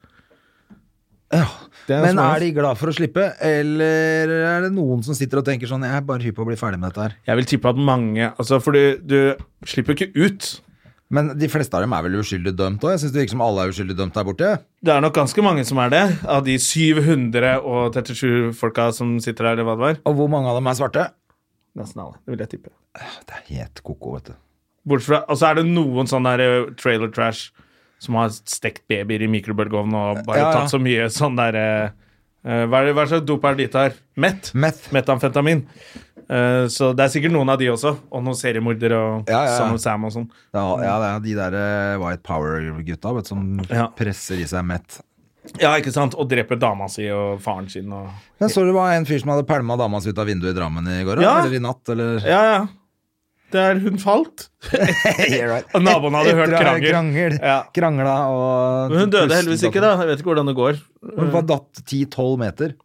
Det er
Men
som
er de glad for å slippe, eller er det noen som sitter og tenker sånn Jeg er bare hypp på å bli ferdig med dette her.
Jeg vil tippe at mange altså, For du, du slipper ikke ut.
Men de fleste av dem er vel uskyldig dømt òg? Jeg syns det virker som alle er uskyldig dømt der borte.
Det er nok ganske mange som er det, av de 737 folka som sitter her, eller hva det var.
Og hvor mange av dem er svarte?
Nesten alle, det vil jeg tippe.
Det er helt koko, vet du.
Bortsett fra, Og så er det noen sånne der eh, trailer trash som har stekt babyer i mikrobølgeovnen og bare
Ja, ja.
tatt så mye sånn der eh, eh, Hva er det- hva slags dop er det de tar? Meth?
Meth.
Metamfetamin. Eh, så det er sikkert noen av de også, og noen seriemordere og
Ja, ja, ja.
Sam og Sam og sånn.
Ja, ja, det er de der eh, White Power-gutta vet du, som
Ja.
presser i seg mett.
Ja, ikke sant? Og dreper dama si og faren sin og
Jeg så det var en fyr som hadde pælma dama si ut av vinduet i Drammen i går,
Ja.
eller i natt, eller
(laughs) Ja, ja. Der hun falt.
Yeah, right.
Og naboen hadde
Etter
hørt
å ha
krangel. Ja.
Krangla og
Men hun døde heldigvis ikke, da. Jeg vet ikke hvordan det går.
Hun var datt 10-12 meter.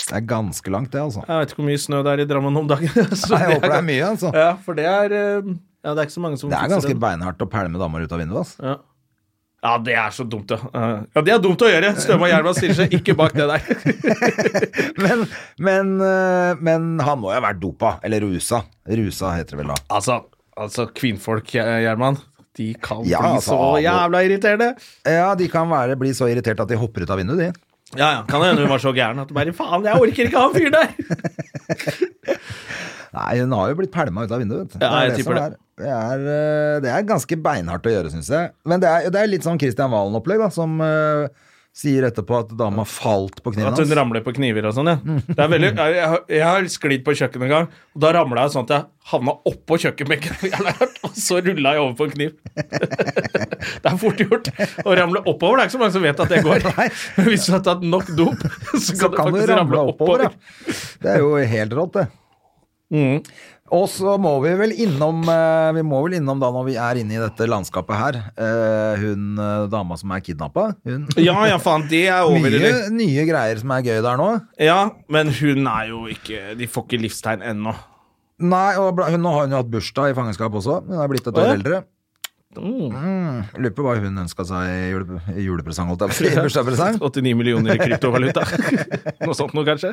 Det er ganske langt, det, altså.
Jeg vet ikke hvor mye snø det er i Drammen om dagen. (laughs) så
Nei, jeg håper det er mye, altså.
Ja, for det er eh, Ja, det er ikke så mange som
Det er
fikser
ganske
den.
beinhardt å pælme damer ut av vinduet, altså.
ja. ja, det er så dumt, ja. Eh, Ja, det er dumt å gjøre. Støme og Jerva stiller seg ikke bak det der.
(laughs) Men, men, eh, men han må jo ha vært dopa. Eller rusa. Rusa heter det vel da.
Altså, altså kvinnfolk, eh, Gjerman. De kan
Ja,
bli
altså,
så jævla irriterende.
Ja, de kan være, bli så irritert at de hopper ut av vinduet, de.
Ja, ja. Kan hende hun var så gæren at hun bare Faen, jeg orker ikke han fyren der!
Nei, hun har jo blitt pælma ut av vinduet. vet du.
Ja,
Det er
jeg
det
tipper
som
det.
Er. Det, er, eh, det er ganske beinhardt å gjøre, syns jeg. Men det er, det er litt sånn Christian Valen-opplegg, da, som eh, sier etterpå at dama falt på kniven
At hun
hans.
ramler på kniver og sånn, ja. Det er veldig, jeg, jeg, har- jeg har sklidd på kjøkkenet en gang, og da ramla jeg sånn at jeg havna oppå kjøkkenbenken, (laughs) jævla hardt, og så rulla jeg over på en kniv. (laughs) Det er fort gjort. Å ramle oppover, det er ikke så mange som vet at det går.
Nei.
Men hvis du har tatt nok dop, (laughs) så kan,
Så kan
du
du
faktisk ramle oppover. Mm.
ja. Det er jo helt rått, det. Og så må vi vel innom eh, Vi må vel innom da når vi er inne i dette landskapet her. eh, Hun eh, dama som er kidnappa. Hun
Ja, ja, faen, det er over.
Mye
eller?
nye greier som er gøy der nå.
Ja, men hun er jo ikke De får ikke livstegn ennå.
Nei, og bla- hun, Nå har hun jo hatt bursdag i fangenskap også. Hun er blitt et år
Å, ja.
eldre. Mm. Lurer på hva hun ønska seg i jule, i julepresang, holdt jeg på å si. i
(laughs)
Bursdagspresang.
89 millioner i kryptovaluta. (laughs) Noe sånt noe, kanskje.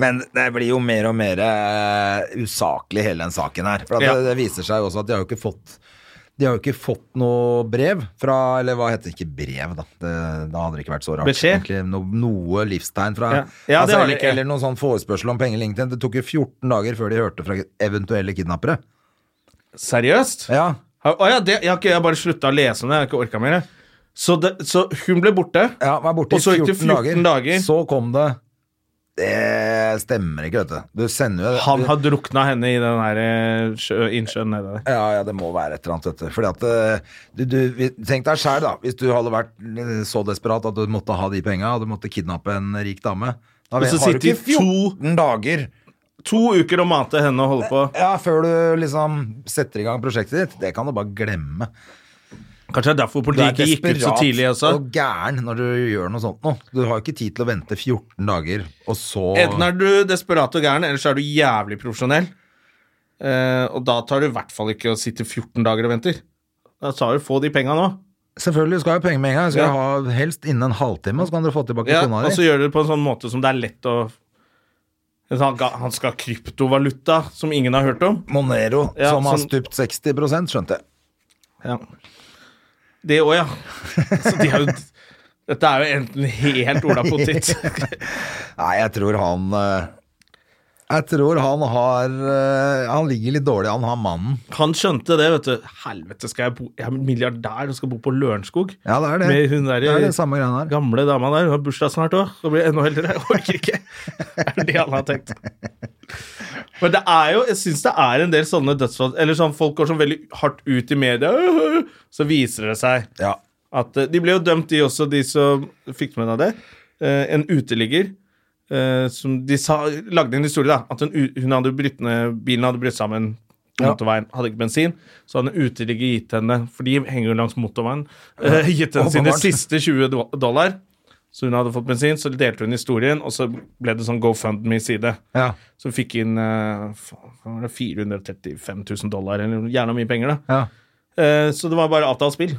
Men det blir jo mer og mer eh, usaklig, hele den saken her. For at
Ja.
det, det viser seg jo også at de har jo ikke fått de har jo ikke fått noe brev fra Eller hva heter det? Ikke brev, da. Det, da hadde det ikke vært så rart.
Beskjed?
Egentlig, no, noe livstegn fra
Ja. Ja, det
altså,
har
eller,
de ikke.
eller noen sånn forespørsel om penger. eller ingenting. Det tok jo 14 dager før de hørte fra eventuelle kidnappere.
Seriøst?
Ja,
Å ja, det, jeg har ikke jeg har bare slutta å lese om det. Jeg har ikke orka mer. jeg. Så, det, så hun ble borte.
Ja, var borte
Og så
i
gikk
14,
det 14 dager.
Så kom det Det stemmer ikke, vet du. Du sender jo
Han har drukna henne i den der eh, sjø- innsjøen nede der.
ja, ja, det må være et eller annet, vet du. Fordi at eh, du, du, vi- Tenk deg sjæl, da. Hvis du hadde vært eh, så desperat at du måtte ha de penga, og du måtte kidnappe en rik dame. Da
Og så
har du
sitter
ikke
de to-
14 dager
To uker og mate henne og holde på.
ja, før du liksom setter i gang prosjektet ditt. Det kan du bare glemme.
Kanskje det er
Du
derfor
er
politiet ikke gikk ut så
desperat
tidlig også.
og gæren når du gjør noe sånt nå. Du har jo ikke tid til å vente 14 dager, og så
Enten er du desperat og gæren, eller så er du jævlig profesjonell. Eh, og da tar du i hvert fall ikke å sitte 14 dager og venter. Da tar du få de penga nå.
Selvfølgelig, du skal ha penger med en gang. Du skal
Ja.
ha helst innen en halvtime, så kan dere få tilbake
Ja,
kona
og så
di.
gjør du det på en sånn måte som det er lett å han, ga- han skal ha kryptovaluta, som ingen har hørt om.
Monero,
Ja,
som har
sånn-
stupt 60 skjønte jeg.
Det òg, ja. Så de er jo, dette er jo enten helt Ola Potit
Nei, jeg tror han eh, Jeg tror han har eh, Han ligger litt dårlig an, han mannen.
Han skjønte det, vet du. Helvete, skal jeg bo Jeg er milliardær og skal bo på Lørenskog.
Ja, det er det.
Med hun der,
Det er det samme greiene her.
gamle dama der. Hun har bursdag snart òg. Da blir jeg enda eldre. Jeg orker ikke. Det er det han har tenkt. Men det er jo, jeg syns det er en del sånne dødsfall Eller sånn folk går sånn veldig hardt ut i media, øh, så viser det seg
Ja.
at eh, De ble jo dømt, de også, de som fikk med av det. Eh, en uteligger eh, som de sa, lagde en historie, da. At en, u- hun hadde brytt ned, bilen hadde brutt sammen på
Ja.
motorveien, hadde ikke bensin. Så hadde en uteligger gitt henne, for de henger jo langs motorveien, eh, (laughs) gitt henne sine
Åpenbart.
siste 20 do- dollar. Så hun hadde fått bensin, så delte hun historien, og så ble det sånn GoFundMe-side.
Ja.
Så hun fikk inn eh, faen, var det 435 000 dollar, eller gjerne mye penger, da.
ja.
Eh, så det var bare avtalt spill.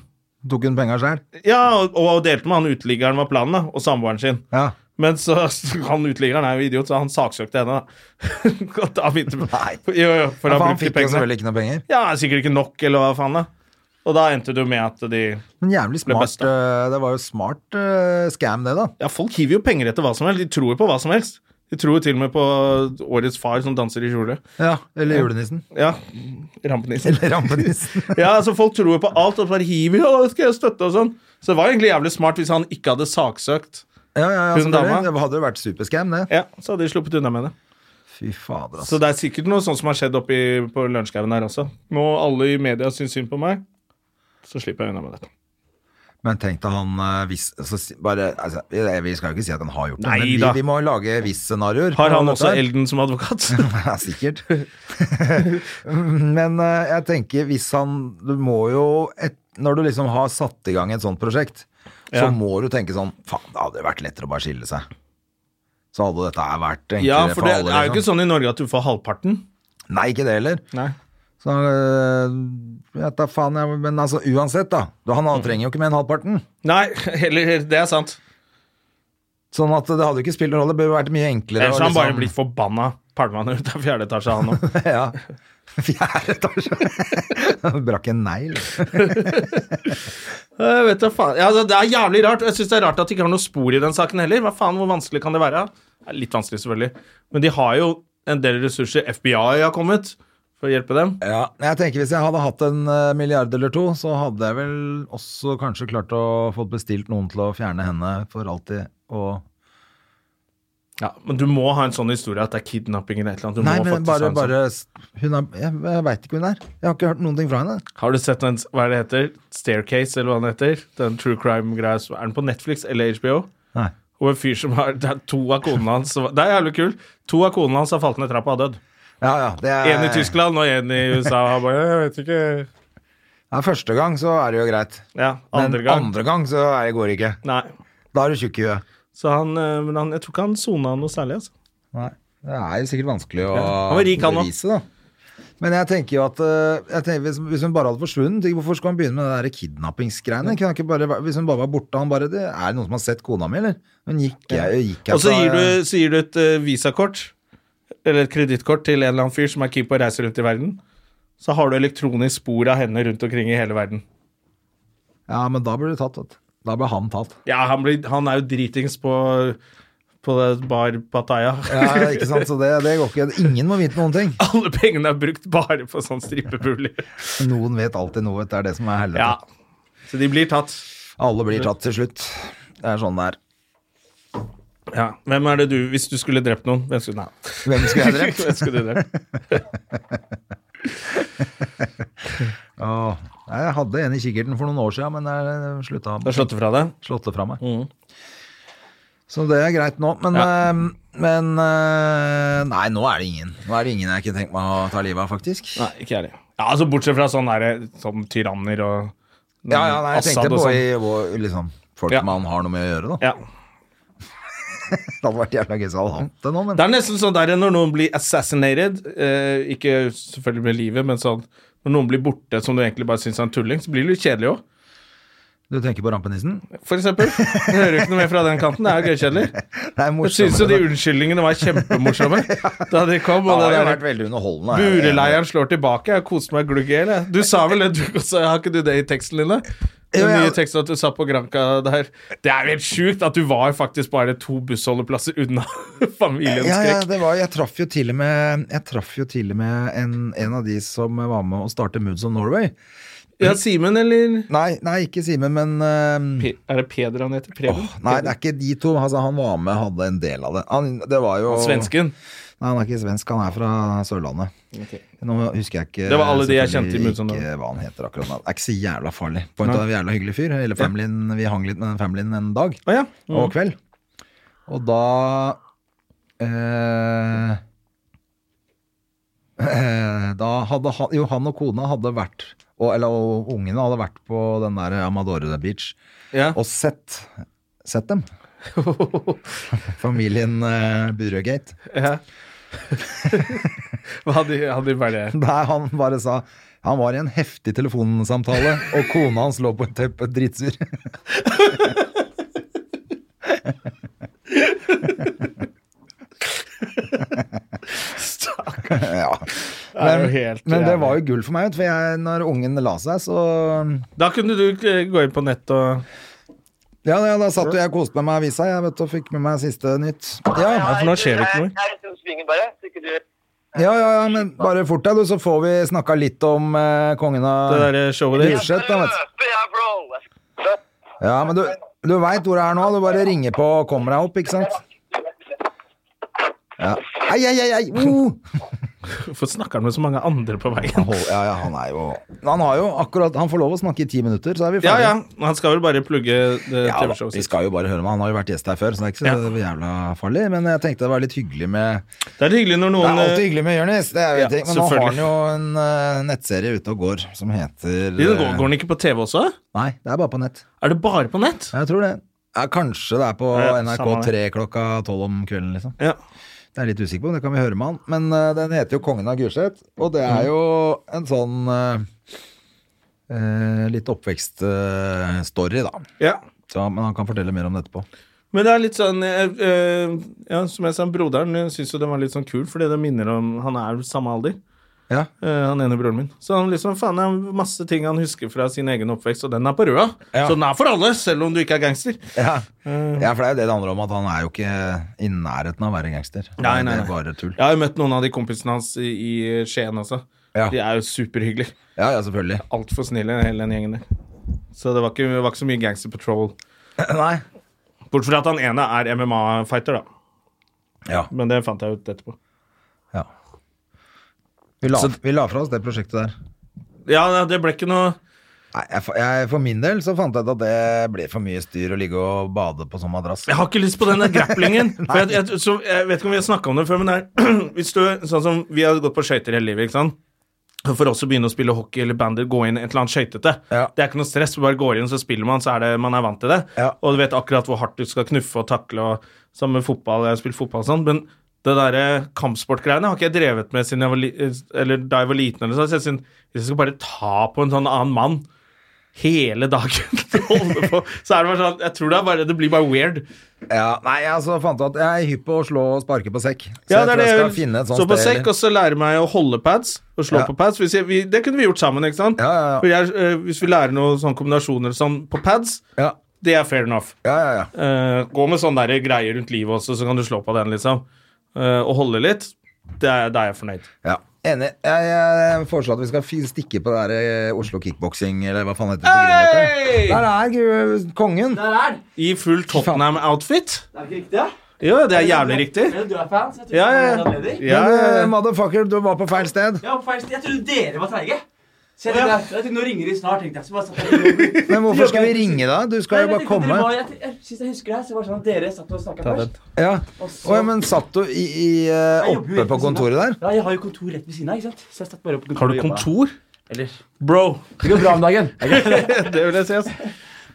Tok hun penga sjøl?
Ja, og, og delte med han uteliggeren var planen, da, og samboeren sin.
Ja.
Men så (laughs) han uteliggeren er jo idiot, så han saksøkte henne. da. (laughs) Og da begynte
Nei.
Jo, jo, for
Ja,
da
for han
brukte
fikk jo
pengene.
selvfølgelig ikke noe penger.
Ja, sikkert ikke nok, eller hva faen, da. Og da endte det jo med at de
Men jævlig
Ble
smart.
best, da.
eh, Det var jo smart eh, scam, det, da.
Ja, folk hiver jo penger etter hva som helst. De tror jo på hva som helst. De tror jo til og med på årets far som danser i kjole.
Ja, Eller julenissen.
Ja, rampenissen.
(laughs) Eller rampenissen.
Ja, altså folk tror jo på alt, og bare hiver ja, da skal jeg støtte og sånn. Så det var egentlig jævlig smart hvis han ikke hadde
(laughs)
saksøkt.
Ja, ja, ja,
Hun
selvfølgelig.
dama.
Det hadde jo vært superscam, det.
Ja, så hadde de sluppet unna med det.
Fy fader, altså.
Så det er sikkert noe sånt som har skjedd oppe i- på Lørenskaugen her også. Nå alle i media syns synd på meg, så slipper jeg unna med dette.
Men tenk deg han eh, hvis så, si- bare, altså, Vi vi skal jo ikke si at han har gjort det,
Nei
men vi,
da.
vi må lage hvis-scenarioer.
Har
på
han
dette
også
her.
Elden som
(laughs)
advokat?
Ja, sikkert. men eh, jeg tenker hvis han Du må jo et, Når du liksom har satt i gang et sånt prosjekt, så
Ja.
må du tenke sånn Faen, det hadde jo vært lettere å bare skille seg. Så hadde dette her vært enklere
ja, for det
alle.
er jo ikke
liksom.
sånn i Norge at du får halvparten.
Nei, ikke det heller.
Nei.
Så øh, vet da faen jeg, Men altså, uansett, da. Du, han
Mhm.
trenger jo ikke mer enn halvparten.
Nei, (laughs) heller, det er sant.
Sånn at det hadde jo ikke spilt noen rolle. Det burde vært mye enklere.
Ellers
å
har han bare blitt
liksom-
forbanna pælmann ut av fjerde etasje, han òg.
(laughs) Ja. Fjerde etasje. (laughs) Han Brakk en negl.
(laughs) Jeg vet da faen. Ja, altså, det er jævlig rart. Jeg synes det er rart at de ikke har noe spor i den saken heller. Hva faen, Hvor vanskelig kan det være? Det er litt vanskelig, selvfølgelig. Men de har jo en del ressurser. FBI har kommet for å hjelpe dem.
Ja. Jeg tenker hvis jeg hadde hatt en øh, milliard eller to, så hadde jeg vel også kanskje klart å få bestilt noen til å fjerne henne for alltid. Og
Ja, Men du må ha en sånn historie at det er kidnapping eller et eller annet. Du
Nei,
må
men
faktisk ha
bare,
en sånn-
bare Hun er Jeg, jeg veit ikke hvor hun er. Jeg har ikke hørt noen ting fra henne.
Har du sett den, hva er det heter? Staircase, eller hva den heter? Den true crime-greia. som- Er den på Netflix eller HBO?
Nei.
Og en fyr som har (laughs) det er to av konene hans som- Det er jævlig kult. To av konene hans har falt ned trappa og dødd.
Ja, ja, det er,
En i Tyskland og en i USA. Han bare, «Øh, jeg vet ikke.
Ja, første gang så er det jo greit.
Ja, andre
Men
gang.
andre gang så er det går det ikke.
Nei.
Da er du tjukk i huet.
Så han, eh, men han, jeg tror ikke han sona noe særlig. altså.
Nei. Det er jo sikkert vanskelig å
Han var rik, han også.
bevise, da. Men jeg tenker jo at eh, jeg tenker, hvis, hvis hun bare hadde forsvunnet tenker, Hvorfor skulle han begynne med det der kidnappingsgreiene? Kunne han ikke bare vært- Hvis hun bare var borte han bare, det Er det noen som har sett kona mi, eller? Men gikk jeg, gikk jeg
Og så
fra-
gir du, så gir du et eh, visakort, eller et kredittkort, til en eller annen fyr som er keen på å reise rundt i verden. Så har du elektronisk spor av henne rundt omkring i hele verden.
Ja, men da ble du tatt, vet du. Da ble han tatt.
Ja, han, blir, han er jo dritings på, på det bar Pattaya.
Ja, ikke sant? (laughs) Så det, det går ikke. Ingen må vite noen ting.
(laughs) Alle pengene er brukt bare på sånn strippepuler.
Noen vet alltid noe. Det er det som er helvete.
Ja. Så de blir tatt.
Alle blir tatt til slutt. Det er sånn det er.
Ja. Hvem er det du Hvis du skulle drept noen, hvem skulle, nei.
Hvem skulle jeg drept?
(laughs) hvem skulle du
(laughs)
drept?
Åh, nei, jeg hadde en i kikkerten for noen år siden, men jeg slutta
Da slått det fra deg?
slått det fra meg.
Mm.
Så det er greit nå, men, eh, men eh, Nei, nå er det ingen. Nå er det ingen jeg ikke tenkt meg å ta livet av, faktisk.
Nei, ikke jeg heller. Ja, altså bortsett fra sånne der, sånn tyranner og
Ja, ja, nei, jeg tenkte
Assad og
på
sånn.
i, hvor- liksom, folk
Ja.
man har noe med å gjøre, da.
ja.
(laughs) Det hadde vært jævla gøy hvis jeg hadde hatt det nå, men
Det er nesten sånn der når noen blir assassinated, eh, ikke selvfølgelig med livet, men sånn når noen blir borte som du egentlig bare syns er en tulling, så blir det litt kjedelig òg.
Du tenker på rampenissen?
For eksempel. Jeg hører jo ikke noe mer fra den kanten. Det er jo gøykjedelig.
Det er
Jeg syns jo
morsommere.
de unnskyldningene var kjempemorsomme da de
(laughs) Ja,
kom. Og
det
det
har
der
vært veldig underholdende.
Bureleieren slår tilbake. Jeg koste meg glugg i hjel. jeg. Du sa vel det, du også. Har ikke du det i teksten din? da? Den
Jo, ja.
nye teksten at du satt på Granca der. Det er jo helt sjukt at du var faktisk bare to bussholdeplasser unna (laughs) familiens
Ja, ja,
skrekk.
det var, jeg traff jo til og med, jeg traff jo til og med en, en av de som var med å starte Moods of Norway.
Ja, Simen eller
Nei, nei ikke Simen, men eh,
Pe- Er det Peder han heter? Preben?
åh, Nei, det er ikke de to. Altså, han var med, hadde en del av det. Han, det var jo,
Peder? Svensken.
Nei, han er ikke svensk, han er fra Sørlandet. Nå husker jeg ikke
Det var alle de jeg
selvfølgelig
kjente i Moods of
ikke
Norway.
hva han heter akkurat nå. Det er ikke så jævla farlig. Point av en jævla hyggelig fyr. Hele familien, Vi hang litt med den familien en dag
Å ja.
og kveld. Og da eh, eh, Da hadde han Jo, han og kona hadde vært og, Eller og ungene hadde vært på den der Amadore Beach
ja.
og sett, sett dem. Familien eh, Burøgate.
(laughs) ja. Hva hadde hadde de bare
Der han bare sa han var i en heftig telefonsamtale, og kona hans lå på et teppe dritsur.
Stakk.
ja.
Det er jo
men,
helt
men det
jævlig.
var jo gull for meg, vet du, for jeg, når ungen la seg, så
Da kunne du eh, gå inn på nett og
Ja, ja, da satt jo jeg og koste meg med avisa jeg vet, du, og fikk med meg siste nytt. Ja,
Ja, for nå skjer det ikke noe.
Nei, jeg synes svingen bare. Så ikke du...
ja, ja, ja men bare fort deg, du, så får vi snakka litt om eh, kongen av
det der showet ditt.
Bullshit, da, vet du.
Løpe, ja, bro!
Ja, men du, du veit hvor det er nå. Du bare ringer på og kommer deg opp, ikke sant? Ja. Ei, ei, ei, ei! Oh!
Hvorfor snakker han med så mange andre på veien?
Hold- Ja, ja, han er jo Han har jo akkurat Han får lov å snakke i ti minutter, så er vi
Ja,
ferdige.
ja. Han skal vel bare plugge det
Ja, da,
TV-showet
vi
sitt.
skal jo bare høre med Han har jo vært gjest her før, så det er ikke så jævla farlig. Men jeg tenkte det var litt hyggelig med
Det er hyggelig
Det
når noen
er alltid
eh,
hyggelig med Jonis, det er jo
Ja,
en ting. Men nå har
selvfølgelig.
han jo en eh, nettserie ute og går som heter
Lille
eh,
Går går den ikke på TV også?
Nei, det er bare på nett.
Er det bare på nett?
Jeg tror det. Ja, kanskje det er på
Ja, ja, samme
NRK3 klokka tolv om kvelden, liksom.
Ja.
Det er jeg litt usikker på, det kan vi høre med han. Men eh, den heter jo Kongen av Gulset, og det er jo en sånn eh, eh, litt oppvekststory, da.
ja.
Så, men han kan fortelle mer om det etterpå.
Men det er litt sånn eh, eh, Ja, som jeg sa, broderen eh, syns jo den var litt sånn kul, fordi det minner om Han er samme alder,
Ja,
eh, han ene broren min. Så han liksom, faen, det er masse ting han husker fra sin egen oppvekst, og den er på røda.
Ja.
Så den er for alle, selv om du ikke er gangster.
ja. ja for det er jo det det handler om, at han er jo ikke i nærheten av å være gangster.
Nei, nei,
Det
nei.
er bare tull.
Jeg har jo møtt noen av de kompisene hans i, i Skien også.
Ja.
De er jo superhyggelige.
Ja, ja, selvfølgelig. (laughs)
Altfor snille, hele den gjengen der. Så det var ikke, det var ikke så mye Gangster Patrol.
Nei.
Bortsett fra at han ene er MMA-fighter, da.
Ja.
Men det fant jeg ut etterpå.
ja. Vi, la, vi la fra oss det prosjektet der.
Ja, det ble ikke noe
Nei, jeg, fa- jeg, for min del så fant jeg ut at det ble for mye styr å ligge og bade på sånn madrass.
Jeg har ikke lyst på
(laughs)
den der grapplingen. for jeg, jeg, så, jeg vet ikke om vi har snakka om det før, men det er (clears throat) hvis du, sånn som Vi har gått på skøyter hele livet, ikke sant? Og For oss å begynne å spille hockey eller bandy, gå inn et eller annet skøytete.
Ja.
Det er ikke noe stress. Du bare går inn, så spiller man, så er det, man er vant til det.
Ja.
Og du vet akkurat hvor hardt du skal knuffe og takle, og sammen med fotball. Jeg har spilt fotball og sånn, men det derre kampsportgreiene har ikke jeg drevet med siden jeg var, li eh, eller da jeg var liten. Eller sånn. Så jeg synes, hvis jeg skal bare ta på en sånn annen mann hele dagen, (laughs) holde på, så er det bare sånn Jeg tror det er bare Det blir bare weird.
Ja, nei, jeg så fant ut at jeg er hypp på å slå og sparke på sekk. Så jeg
Ja, det er
tror
det
jeg
jeg
skal
vil.
finne et sånt
så på
sted.
sekk,
eller-
og så lærer meg å holde pads og slå
Ja.
på pads. Hvis jeg, vi, det kunne vi gjort sammen, ikke sant?
Ja, ja, ja.
For Jeg, eh, hvis vi lærer noen sånne kombinasjoner sånn på pads,
Ja,
det er fair enough.
ja, ja. ja.
Eh, gå med sånne der greier rundt livet også, så kan du slå på den, liksom. Eh, og holde litt. Det er, da er jeg fornøyd.
ja. Enig. Jeg, jeg foreslår at vi skal fi- stikke på det der eh, Oslo kickboksing, eller hva faen heter det? på Grünerløkka. Der er gu- kongen.
I full Tottenham-outfit. Det er ikke riktig? Jo, det er jævlig riktig.
Du er fan, så jeg
Ja, ja,
du er
ja.
annerledes.
ja, ja,
Men, eh,
ja.
motherfucker, du var på feil sted.
Ja, feil sted. Jeg trodde dere var treige. Så jeg tenkte, jeg tenkte, nå ringer de snart, tenkte jeg. Så bare satt jeg og-
Men hvorfor skal vi ringe deg? Du (laughs) skal
Nei,
jo bare
men jeg tenkte dere
komme.
var- Jeg, jeg, synes jeg husker det her, så det var sånn at dere satt og snakket først.
Ja.
Og
Å ja, men satt du i, i, eh,
Jeg jobber jo sånn.
oppe på
rett ved siden av.
kontoret der?
Ja, jeg har jo kontor rett ved siden av, ikke sant? Så jeg satt bare oppe på
Har
kontoret
du
og jobbet.
kontor?
Eller,
Bro.
det går bra om dagen.
det vil jeg si, altså.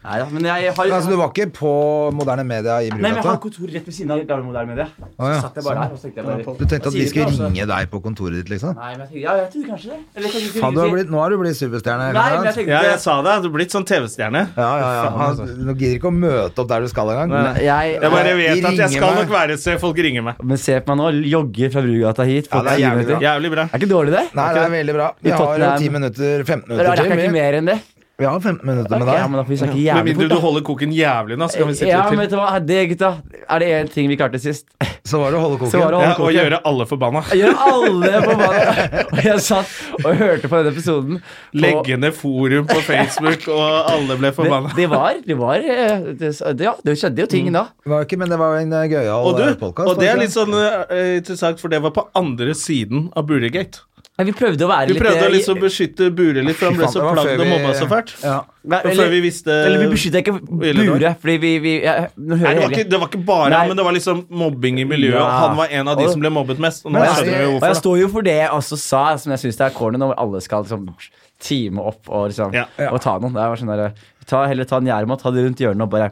Nei da, men jeg har
Altså, du var ikke på moderne media i
Nei, men jeg har
Brugata?
kontor rett ved siden av Gamle Moderne Media. Så
Å, ja.
satt jeg bare her og så tenkte jeg bare
Du tenkte
Hva
at de
sier
skulle
altså?
ringe deg på kontoret ditt, liksom?
Nei, men jeg tenkte, ja, jeg tror kanskje det. Eller kanskje de skulle
Faen, du har
ringe og si-
blitt, nå har du blitt superstjerne.
Nei, men jeg
Konrad.
Ja,
tenkte
jeg sa det. Du er blitt sånn TV-stjerne.
Ja, ja, ja. Han, du gidder ikke å møte opp der du skal engang.
altså. Nei, jeg,
Jeg bare
de
vet at jeg
ringer
skal
meg.
nok være et sted folk ringer meg.
Men se på meg nå, jogger fra Brugata
Ja, det er
hit.
jævlig
folk kilometer.
bra.
Jævlig bra.
Er ikke dårlig, det?
Nei, det er veldig bra.
I
Vi har jo
Tottenham.
10 minutter, 15
Eller
minutter
rekker jeg ikke
til. Vi-
mer enn det?
Vi har 15 minutter med
Ok, ja, men
deg.
da får vi snakke
Med mindre
jævlig fort,
du
da.
holder koken jævlig nå, så kan vi sitte
Ja,
litt
men
til.
vet du hva, det gutta Er det én ting vi klarte sist?
Så var det å holde
Så var
koken.
det å
Ja, og
holde koken.
gjøre alle forbanna.
Jeg gjør alle på banen.
(laughs)
Og jeg satt og hørte på denne episoden. og
Legge ned forum på Facebook, og alle ble
det,
forbanna.
det var, det var eh, det, det, ja, det skjedde jo
Mm.
ting da.
Det var ikke, men det var en eh, gøyal
Og,
eh,
du,
podcast,
og det
var
er
det
litt
ikke?
sånn eh, interessant, for det var på andre siden av Buregate.
Nei, vi prøvde å være
Vi
litt
prøvde å
eh,
liksom beskytte Bure litt, for han ble
Fy faen,
så
det var før
plagd og
vi-
mobba så fælt.
(laughs) Ja.
Nei,
Og før
eller-
vi visste
Eller vi beskytter ikke Bure, fordi vi, vi jeg, Nå
Nei,
hører
det
jeg
var, ikke,
hele.
det var ikke bare
Nei.
han, men det var liksom mobbing i miljøet. Og
Ja.
han var en av de
Og-
som ble mobbet mest. Og nå
Og jeg,
skjønner vi jo
og jeg
hvorfor. da.
står jo for det jeg også sa, som jeg syns er corny, når alle skal liksom time opp og liksom
Ja. Ja.
Og ta noen. Det var sånn der, ta, heller ta en gjermat, ta det rundt hjørnet og bare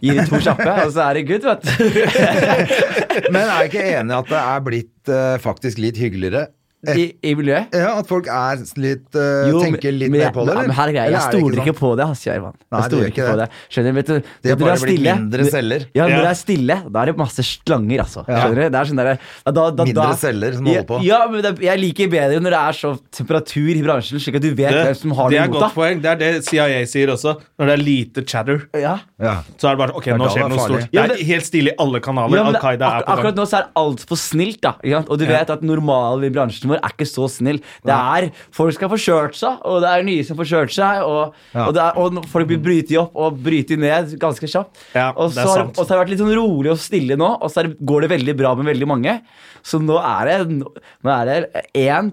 gi det to kjappe, og så er det good, vet du.
Men er jeg ikke enig i at det er blitt eh, faktisk litt hyggeligere?
(laughs)
I, i miljøet.
Ja, At folk er litt, eh,
Jo,
tenker litt
men,
mer på det?
Ja,
eller?
men her er greia.
Eller
Jeg
er det
stoler ikke
sånn?
på det, ass, Jørgen.
Nei,
Jeg
du gjør
stoler
ikke
ikke på det.
det.
Skjønner du? Vet du
Det har
når du
bare blitt
er stille-
mindre celler.
Ja, når
Ja.
det er stille, da er det masse slanger, altså. Skjønner du? Det er sånn der, da, da, da,
Mindre celler som holder på.
Ja, ja, men det, jeg liker bedre når det er så temperatur i bransjen, slik at du vet hvem som har
det
det
er
imot
godt
deg.
poeng. Det er det CIA sier også. Når det er lite chatter,
Ja.
Ja.
så er det bare sånn, Ok,
da det
nå
er
skjer det noe
farlig.
stort. Det
Ja, men-
er helt stille i alle kanaler.
Ja, men det-
Al Qaida er
ak
på gang.
akkurat nå så er alt for snilt, da. Ikke sant? Og du vet at normalen i bransjen vår er ikke så snill. Det er Folk skal få kjørt seg, og det er nye som får kjørt seg, og,
Ja.
og, det er, og folk blir brytet opp og brytet ned ganske kjapt.
Ja,
og,
det er
så har,
sant.
og så har det vært litt sånn rolig og stille nå, og så er, det- går det veldig bra med veldig mange. Så nå er det Nå er det én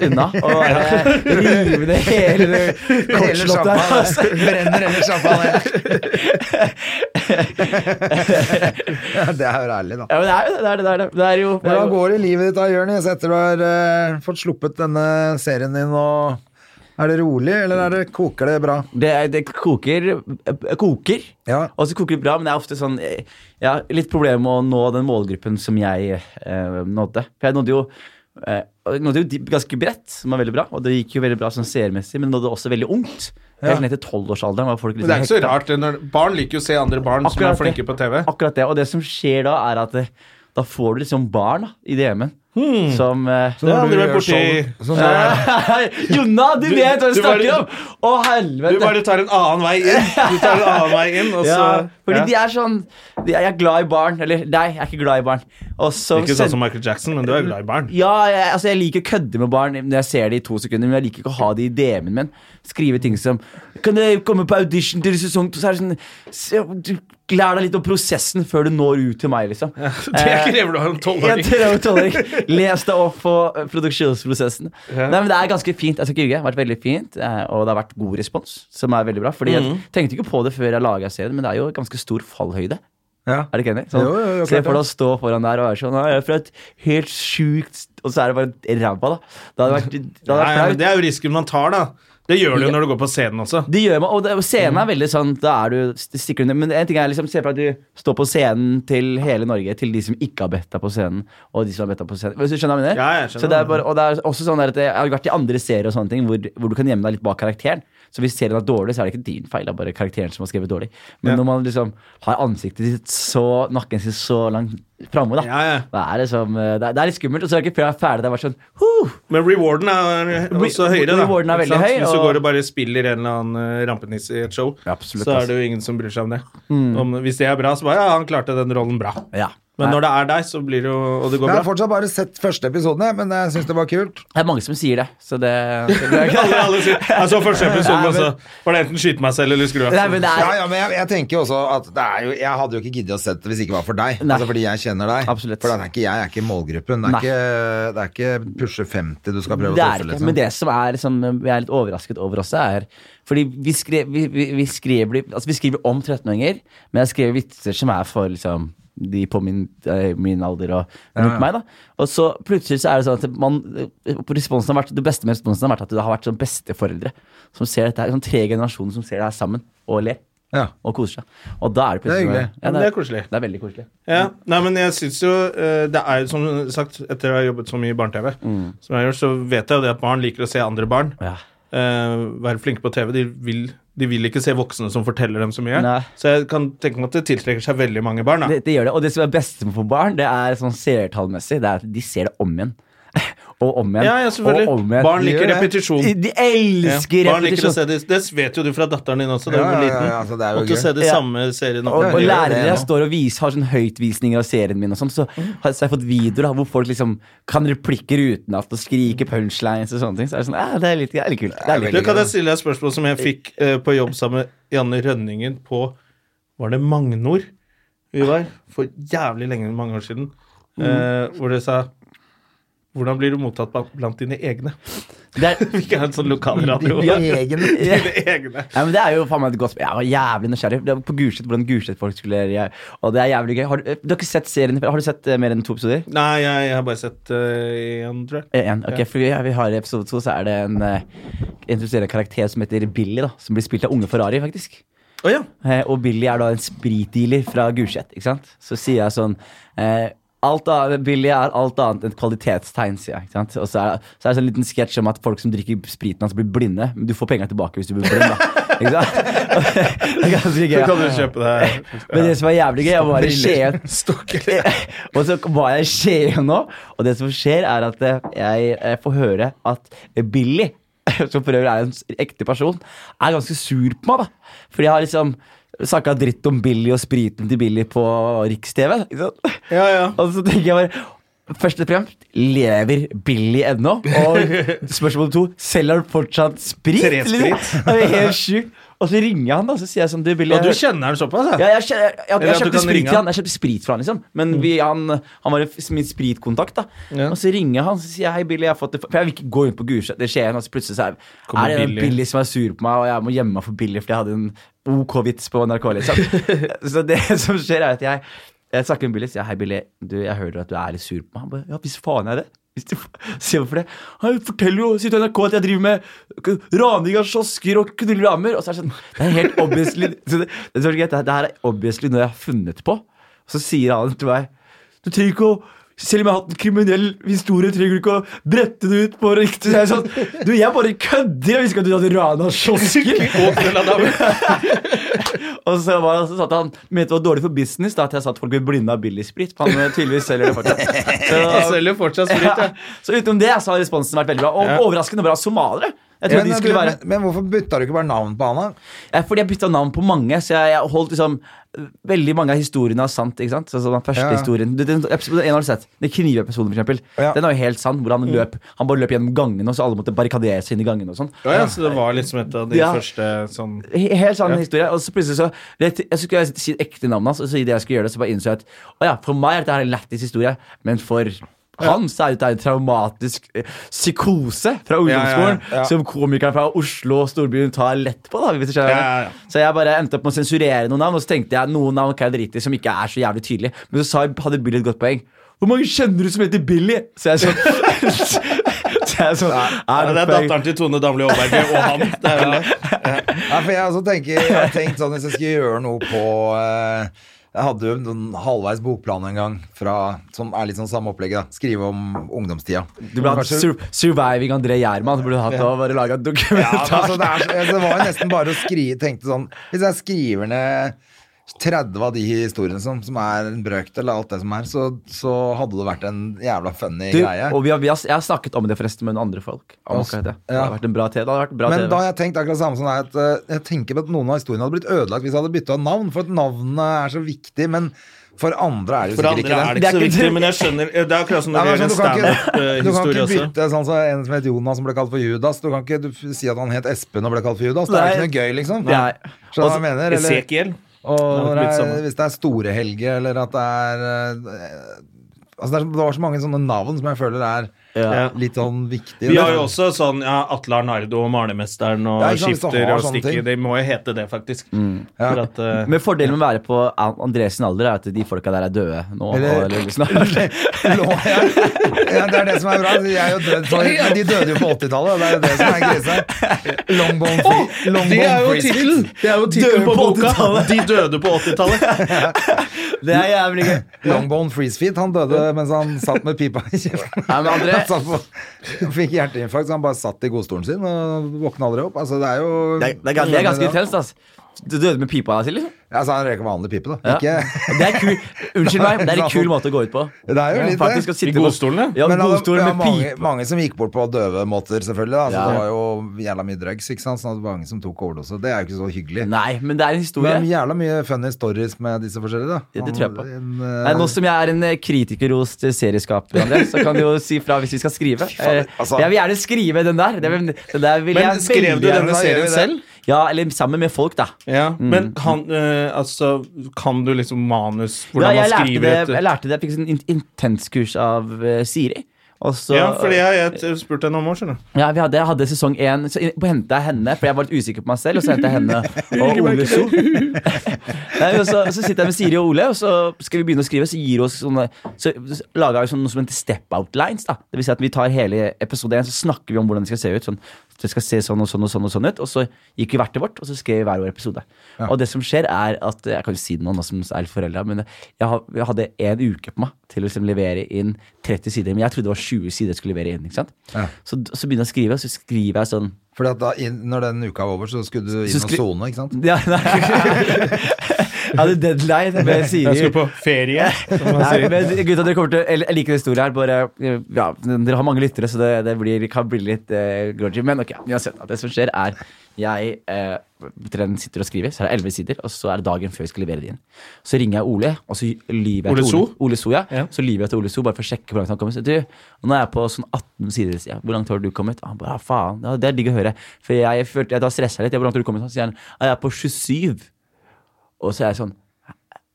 (laughs)
unna å bare rive ned hele
(laughs) Hele
kortslottet. altså.
champagne altså. brenner hele (laughs) champagne. ja, det er jo ærlig, da.
Ja, men det er jo det. Er, det, det, er, det. det er jo
Hvordan går det i livet ditt da, Jonis, etter du har eh, fått sluppet denne serien din? og Er det rolig, eller er det, koker det bra?
Det, det koker, eh, koker.
Ja.
og så koker det bra, men det er ofte sånn eh, Jeg har litt problemer med å nå den målgruppen som jeg eh, nådde. For jeg nådde jo, eh, jeg nådde jo de- ganske bredt, som var veldig bra, og det gikk jo veldig bra sånn seermessig, men nådde også veldig ungt. Helt ned til tolvårsalderen var folk liksom
Men det er ikke så
hekta.
rart. det, Når barn liker jo å se andre barn som
Akkurat
er flinke
det.
på TV.
Akkurat det. Og det som skjer da, er at eh, da får du liksom barn da, i DM-en
Hmm.
som eh,
Det
Når
har
du
aldri vært
gjør
borti.
sånn- sånn når du-
(laughs) Jonna, du,
Du-
vet hva jeg
du bare-
snakker om! Å, helvete!
Du bare tar en annen vei inn. Du tar en annen vei inn, og så
ja, fordi
Ja.
de er sånn de, Jeg er glad i barn. Eller nei, jeg er ikke glad i barn. Og så
Ikke sånn
send-
som Michael Jackson, men du er glad i barn.
ja, jeg, altså jeg liker å kødde med barn når jeg ser det i to sekunder, men jeg liker ikke å ha det i DM-en min. Skrive ting som Kan jeg komme på audition til sesong to? Så er det sånn se, du, Lær deg litt om prosessen før du når ut til meg, liksom.
(laughs) Det krever du av en
Jeg
tolvåring.
tror jeg tåler. Les deg opp på eh, produksjonsprosessen.
Ja.
Nei, men Det er ganske fint. Jeg skal ikke ljuge. Det har vært veldig fint, eh, og det har vært god respons, som er veldig bra. Fordi Jeg tenkte ikke på det før jeg laga serien, men det er jo ganske stor fallhøyde.
Ja.
Er du ikke enig? Sånn,
Jo, jo, jo,
se
klart
for
det.
deg å stå foran der og være sånn «Nei, Jeg er fra et helt sjukt st- Og så er det bare et ræva, da. Det hadde vært, det
Nei,
hadde vært
men
flaut.
det er jo risken man tar, da. Det gjør du jo når du går på scenen også.
Det gjør meg, og det, og scenen
Mm.
er veldig sånn Da er du st- stikker under Men en ting er liksom Se for deg at du står på scenen til hele Norge Til de som ikke har bedt deg på scenen Og de som har bedt deg på scenen Hvis du skjønner hva jeg mener?
Ja, jeg skjønner
Så det er bare, og det er også sånn der at Jeg har vært i andre serier og sånne ting Hvor, hvor du kan gjemme deg litt bak karakteren Så hvis serien er dårlig Så er det ikke din feil Det er bare karakteren som har skrevet dårlig Men
Ja.
når man liksom Har ansiktet sitt så Nakken sin så langt fremme da
Ja, ja.
Det er liksom eh, Det er, det er litt skummelt Og så er det ikke før jeg er ferdig Det er bare sånn huh!
Men rewarden er også
Re-
høyere, da.
rewarden er
Ikke
veldig
sant?
høy,
Hvis du
og-
går og bare spiller en eller annen eh, rampenisse i et show,
Absolutt,
så
ass. Mm.
er det jo ingen som bryr seg om det. Om, hvis det er bra, så bare ja, han klarte den rollen bra.
Ja
Men når det er deg, så blir det jo Og det går
Jeg har
bra.
fortsatt bare sett første episoden, jeg, men jeg syns det var kult.
Det er mange som sier det Så det, så
(laughs)
det
Alle, alle sier,
(laughs)
Altså, jeg så første episode, og så sånn, var det enten skyte meg selv eller skru av.
Nei, men det er
Ja, ja, men jeg, jeg tenker jo også at det er jo, jeg hadde jo ikke giddet å sette det hvis det ikke var for deg.
Nei.
Altså fordi jeg kjenner deg.
Absolutt.
For det er ikke, jeg er ikke målgruppen. Det er
Nei.
ikke, det er ikke pushe 50 du skal prøve
det
å
er
treffe.
det ikke.
Liksom.
Men det som er, som jeg er litt overrasket over også, er Fordi vi, skrev, vi, vi, vi, skrev, altså vi skriver om 13-åringer, men jeg skrev vitser som er for liksom de på min, eh, min alder og rundt meg. da Og så plutselig så er det sånn at man eh, responsen har vært, Det beste med responsen har vært at det har vært sånn besteforeldre som ser dette her, sånn tre generasjoner som ser det her sammen og ler.
Ja.
og koser seg. Og da er det
Det er hyggelig.
plutselig Ja,
Men det er koselig.
Det er veldig koselig.
Ja, nei, men jeg synes jo eh, Det er jo som sagt, etter å ha jobbet så mye i barne-TV, som jeg har gjort, så vet jeg jo det at barn liker å se andre barn.
Mm. Ja.
Eh, være flinke på TV. De vil, de vil ikke se voksne som forteller dem så mye.
Nei.
Så jeg kan tenke meg at det tiltrekker seg veldig mange barn. Da.
Det, det gjør det. Og det som er best for barn, det er sånn seertallmessig, det er at de ser det om igjen. (laughs) Og om igjen.
ja, ja, selvfølgelig.
Og om igjen.
barn
gjør
liker
det.
repetisjon.
De- De elsker
Ja, barn liker å
repetisjon.
se det. det vet jo du fra datteren din også, da
Ja,
hun var
ja, ja,
liten.
ja, altså, det er jo
Måtte
gøy.
se det
Ja.
samme serien
Og,
Ja,
og
det gjør det
lærere
nå.
står og viser, har sånn høytvisninger av serien min, og sånn, så, har, så har jeg fått videoer da, hvor folk liksom kan replikker utenat og skrike punchlines og sånne ting. Så er det sånn, eh, det er litt, det er litt kult. Det er litt
Du,
veldig
kult.
kan jeg stille deg et spørsmål som jeg fikk eh, på jobb sammen med Janne Rønningen på Var det Magnor vi var? For jævlig lenge, mange år siden.
Mm.
Eh, hvor det sa Hvordan blir du mottatt ba- blant dine egne? (laughs)
Det er,
Ikke en sånn lokalradio.
Ja.
Egen
(laughs) Dine egne.
Ja, men det er jo faen meg et godt Jeg var jævlig nysgjerrig det var på Gulset, hvordan Gulset-folk skulle reagere. Og det er jævlig gøy. Har du, eh, du har ikke sett serien før? Har du sett eh, mer enn to episoder?
Nei, jeg, jeg har bare sett én, tror jeg.
Eh, En, ok, for vi, vi har i episode to, så er det en eh, introduserer en karakter som heter Billy, da. Som blir spilt av unge Ferrari, faktisk.
Å ja.
Eh, og Billy er da en spritdealer fra Gulset, ikke sant? Så sier jeg sånn eh, alt annet, Billy er alt annet enn et kvalitetstegn, sier jeg. ikke sant? Og så er, det- så er det sånn liten sketsj om at folk som drikker spriten hans, blir blinde. Men du får penga tilbake hvis du blir blind, da. (laughs) Ikke sant? Det er
(laughs)
ganske gøy.
Så kan du kjøpe det.
Men (laughs) det som var jævlig gøy, jeg var i Skien. (laughs)
Stokkelig.
og så var jeg i Skien nå, og det som skjer, er at eh, jeg eh, får høre at Billy, (laughs) som for øvrig er en s- ekte person, er ganske sur på meg. da Fordi jeg har liksom snakka dritt om Billy og spriten til Billy på Riks-TV. ikke sant?
Ja, ja.
(laughs) Og så tenker jeg bare Først og fremst, lever Billy ennå?
(laughs)
Og spørsmål to, selger han fortsatt sprit?
Tre sprit.
(laughs) liksom? Det er helt sjukt. Og så ringer han, da, så sier jeg sånn Du, Billy
Og du
jeg-
kjenner den såpass,
ja,
ja?
jeg, kjø- jeg, jeg,
Eller at
jeg,
du
kjøpte
kan
sprit
ringe han. Mm.
til han. Jeg kjøpte sprit fra han, liksom. Men vi, han, han var f- min spritkontakt, da.
Ja.
Og så ringer han og sier jeg, hei, Billy. Jeg har fått det. For jeg vil ikke gå inn på Gulset. Det skjer igjen. Og så plutselig så er,
Kommer
er det en
Billy.
Billy som er sur på meg, og jeg må gjemme meg for Billy fordi jeg hadde en OK vits på NRK,
(laughs)
liksom. så det (laughs) som skjer, er at jeg, jeg snakker med Billy og sier hei, Billy, du, jeg hører at du er litt sur på meg. Han bare ja, hvis faen er det. (laughs) Hvis du Se hvorfor det. Han forteller jo sier til NRK at jeg driver med k- raning av kiosker og knullrammer. Og så er det sånn Det er helt obviously (laughs) så det, det, er så greit, det, her- det her er obviously noe jeg har funnet på. Og så sier han til meg Du trenger ikke å selv om jeg har hatt en kriminell historie, trenger du ikke å brette det ut på riktig. Så Jeg er sånn, du, jeg bare kødder! Jeg visste ikke at du hadde rana kiosker. (laughs) Og så, var, så satt han mente det var dårlig for business da, at jeg sa at folk ble blinde av billig sprit. for Han eh, tydeligvis selger det fortsatt.
(laughs) Jeg
Så,
selger fortsatt sprit,
ja.
jeg.
så utenom det så har responsen vært veldig bra. Og overraskende bra somaliere. Jeg trodde
Men,
de skulle være
men, men hvorfor bytta du ikke bare navn på han, da?
Eh, Fordi jeg bytta navn på mange, så jeg, jeg holdt liksom Veldig mange av historiene er sant. ikke sant? Sånn som den første
Ja.
historien du, den, episode, En har du sett. Den knivepisoden, for eksempel.
Ja. Mm.
Den er jo helt sann, hvor han løp Han bare løp gjennom gangene, og så alle måtte barrikadere seg inn i gangene og sånn.
Ja, ja, så det var liksom et av de
Ja.
første sånn
He- Helt sann historie. Og så plutselig så rett, Jeg skulle si et ekte navnet hans, og så i det jeg skulle gjøre det, så bare innså jeg at å ja, for meg er dette her en lættis historie, men for han så er dette en traumatisk eh, psykose fra
Ja,
ungdomsskolen
ja, ja.
som komikeren fra Oslo og storbyen tar lett på. da hvis du skjønner.
Ja, ja, ja.
Så jeg bare endte opp med å sensurere noen navn, og så tenkte jeg noen navn kan jeg drite i som ikke er så jævlig tydelige. Men så sa, hadde Billy et godt poeng. Hvor mange kjenner du som heter Billy? Så jeg sånn (laughs) Så jeg sånn
Ja, det er datteren til Tone Damli Aaberge
(laughs)
og han. Det er vel det.
Ja, for jeg, også tenker, jeg har tenkt sånn hvis jeg skulle gjøre noe på eh, Jeg hadde jo noen halvveis bokplan en gang fra, som er litt sånn samme opplegget. da Skrive om ungdomstida.
Du burde hatt
Kanskje-
sur Surviving André Gjerman. Du burde hatt å bare lage
Ja,
en
men
dokumentar.
altså, det, er, så- altså, det var jo nesten bare å skrive tenkte sånn, Hvis jeg skriver ned 30 av de historiene som, som er en brøkdel av alt det som er, så, så hadde det vært en jævla funny
(laughs) du,
greie.
og vi har, vi har, jeg har snakket om det forresten med noen andre folk. Om
Ja,
akkurat det. det
ja.
hadde vært en bra TV. Det hadde vært en bra
Men
TV.
da har jeg tenkt akkurat samme som deg, at eh, jeg tenker på at noen av historiene hadde blitt ødelagt hvis jeg hadde bytta navn, for at navnene er så viktig, men for andre er det jo
For
sikkert ikke
andre er
det.
det ikke så
Det er ikke-
viktig, men jeg skjønner Det er akkurat som
Nei,
når vi
men
gjør en
sånn, du, kan ikke, du kan
standup-historie
ikke
eh, også.
bytte sånn som en som het Jonas, som ble kalt for Judas. Du kan ikke du, f- si at han het Espen og ble kalt for Judas. Det er jo
Nei.
ikke noe gøy, liksom.
Nei.
Skjønner du
Altså,
hva jeg mener? Eller,
Esekiel.
og
Nei, det er
når
litt
det
samme.
er, hvis det er Storehelge, eller at det er eh, Altså, det, er, så- det var så mange sånne navn som jeg føler er
Ja.
Litt sånn viktig.
Vi har jo også sånn ja, Atle Arnardo og Malermesteren og
Ja, ikke sant, hvis du
Skifter
har
og
sånne
Stikker.
ting.
De må jo hete det, faktisk.
Mm.
Ja.
For at, eh,
Men fordelen med å være på Andres sin alder er at de folka der er døde nå.
Eller-
og- eller liksom- snart.
Lå, ja. ja, det er det som er bra. De, er jo død for, men de døde jo på 80-tallet, og det er jo det som er krisa. Longbone free. Long
det er jo
free.
tittelen! Det er jo tittelen
Døde
på
på
boka! De døde på
(laughs)
80-tallet.
(laughs) Det er jævlig gøy.
Longbone freeze feet. Han døde mens han satt med pipa i kjeften.
Nei, men
(laughs)
André-
Han satt på- han fikk hjerteinfarkt, så han bare satt i godstolen sin og våkna aldri opp. Altså, det er jo
Det er, det er ganske, det er ganske intenst, ass. Du døde med pipa si, liksom?
Altså, han røyker vanlig pipe, da.
Ja.
Ikke
Det er kul. Unnskyld meg, men det er en kul måte å gå ut på.
Det er jo litt det.
Faktisk å sitte
I
på-
godstolen,
(laughs) Ja,
Men han-
godstolen
ja,
med
mange,
pipe.
mange som gikk bort på døve måter, selvfølgelig. Da. Så
Ja.
Det var jo jævla mye drugs, ikke sant. Sånn at mange som tok overdose. Det er jo ikke så hyggelig.
Nei, men det er en
Men
historie.
jævla mye funny stories med disse forskjellige, da.
Ja, det tror jeg på.
En,
Nei, nå som jeg er en eh, kritikerrost serieskaper, André, så kan du jo si fra hvis vi
(laughs)
skal skrive.
faen,
Eh,
altså.
Jeg vil gjerne skrive den der. Det vil, den der vil
Men
jeg
skrev
veldig
du
gjerne-
denne
da gjør vi
serien
det.
selv?
Ja, eller sammen med folk, da.
Ja,
Mm.
Men han, eh, altså, kan du liksom manus? Hvordan
ja, jeg,
man
lærte
skriver
det, jeg
et
lærte det, jeg fikk sånn in intenskurs av eh, Siri. Og så,
Ja, fordi jeg, jeg spurte henne om år, skjønner du.
Ja, vi hadde, jeg hadde sesong én. Så in- på henta jeg henne, for jeg var litt usikker på meg selv. Og så henta jeg
(laughs)
henne og Ole So. Nei, og så, så sitter jeg med Siri og Ole, og så skal vi begynne å skrive. Så gir hun oss sånne Så lager vi sånn, noe som heter step out lines. da Det vil si at vi tar hele episode én, så snakker vi om hvordan det skal se ut. Sånn, det skal se sånn og sånn og sånn og sånn ut. Og så gikk vi hvert til vårt, og så skrev vi hver vår episode. Og det som skjer, er at Jeg kan jo si det nå, nå som jeg er litt forelda, men jeg, har, jeg hadde en uke på meg til å liksom levere inn 30 sider. Men jeg trodde det var 20 sider jeg skulle levere inn. ikke sant?
Ja.
Så, så begynner jeg å skrive, og så skriver jeg sånn (laughs)
Fordi at da, inn- når den uka var over, så skulle du inn
Så skri-
og sone, ikke sant?
ja, nei. (laughs) Jeg hadde deadline med Siri.
Jeg skulle på ferie. Som man
(laughs) Nei,
sier.
men gutta, dere kommer til Jeg jeg liker den historien her. Bare, ja, dere har mange lyttere, så det, det blir, kan bli litt eh, grungy. Men ok, uansett. Det som skjer, er jeg eh, Trend sitter og skriver, så er det elleve sider, og så er det dagen før vi skal levere det inn. Så ringer jeg Ole, og så lyver jeg
Ole
til
So?
Ole. Ole So, ja.
Ja.
Så lyver jeg til Ole So bare for å sjekke hvor langt han kommer. Så, du, nå er jeg på sånn 18 sider. sier jeg. Hvor langt har du kommet? Han bare, ja, faen, ja, Det er digg å høre. For jeg følte, jeg da stresset litt. Ja, Hvor langt har du kommet? Så sier han, ja, jeg er på 27. Og så er jeg sånn,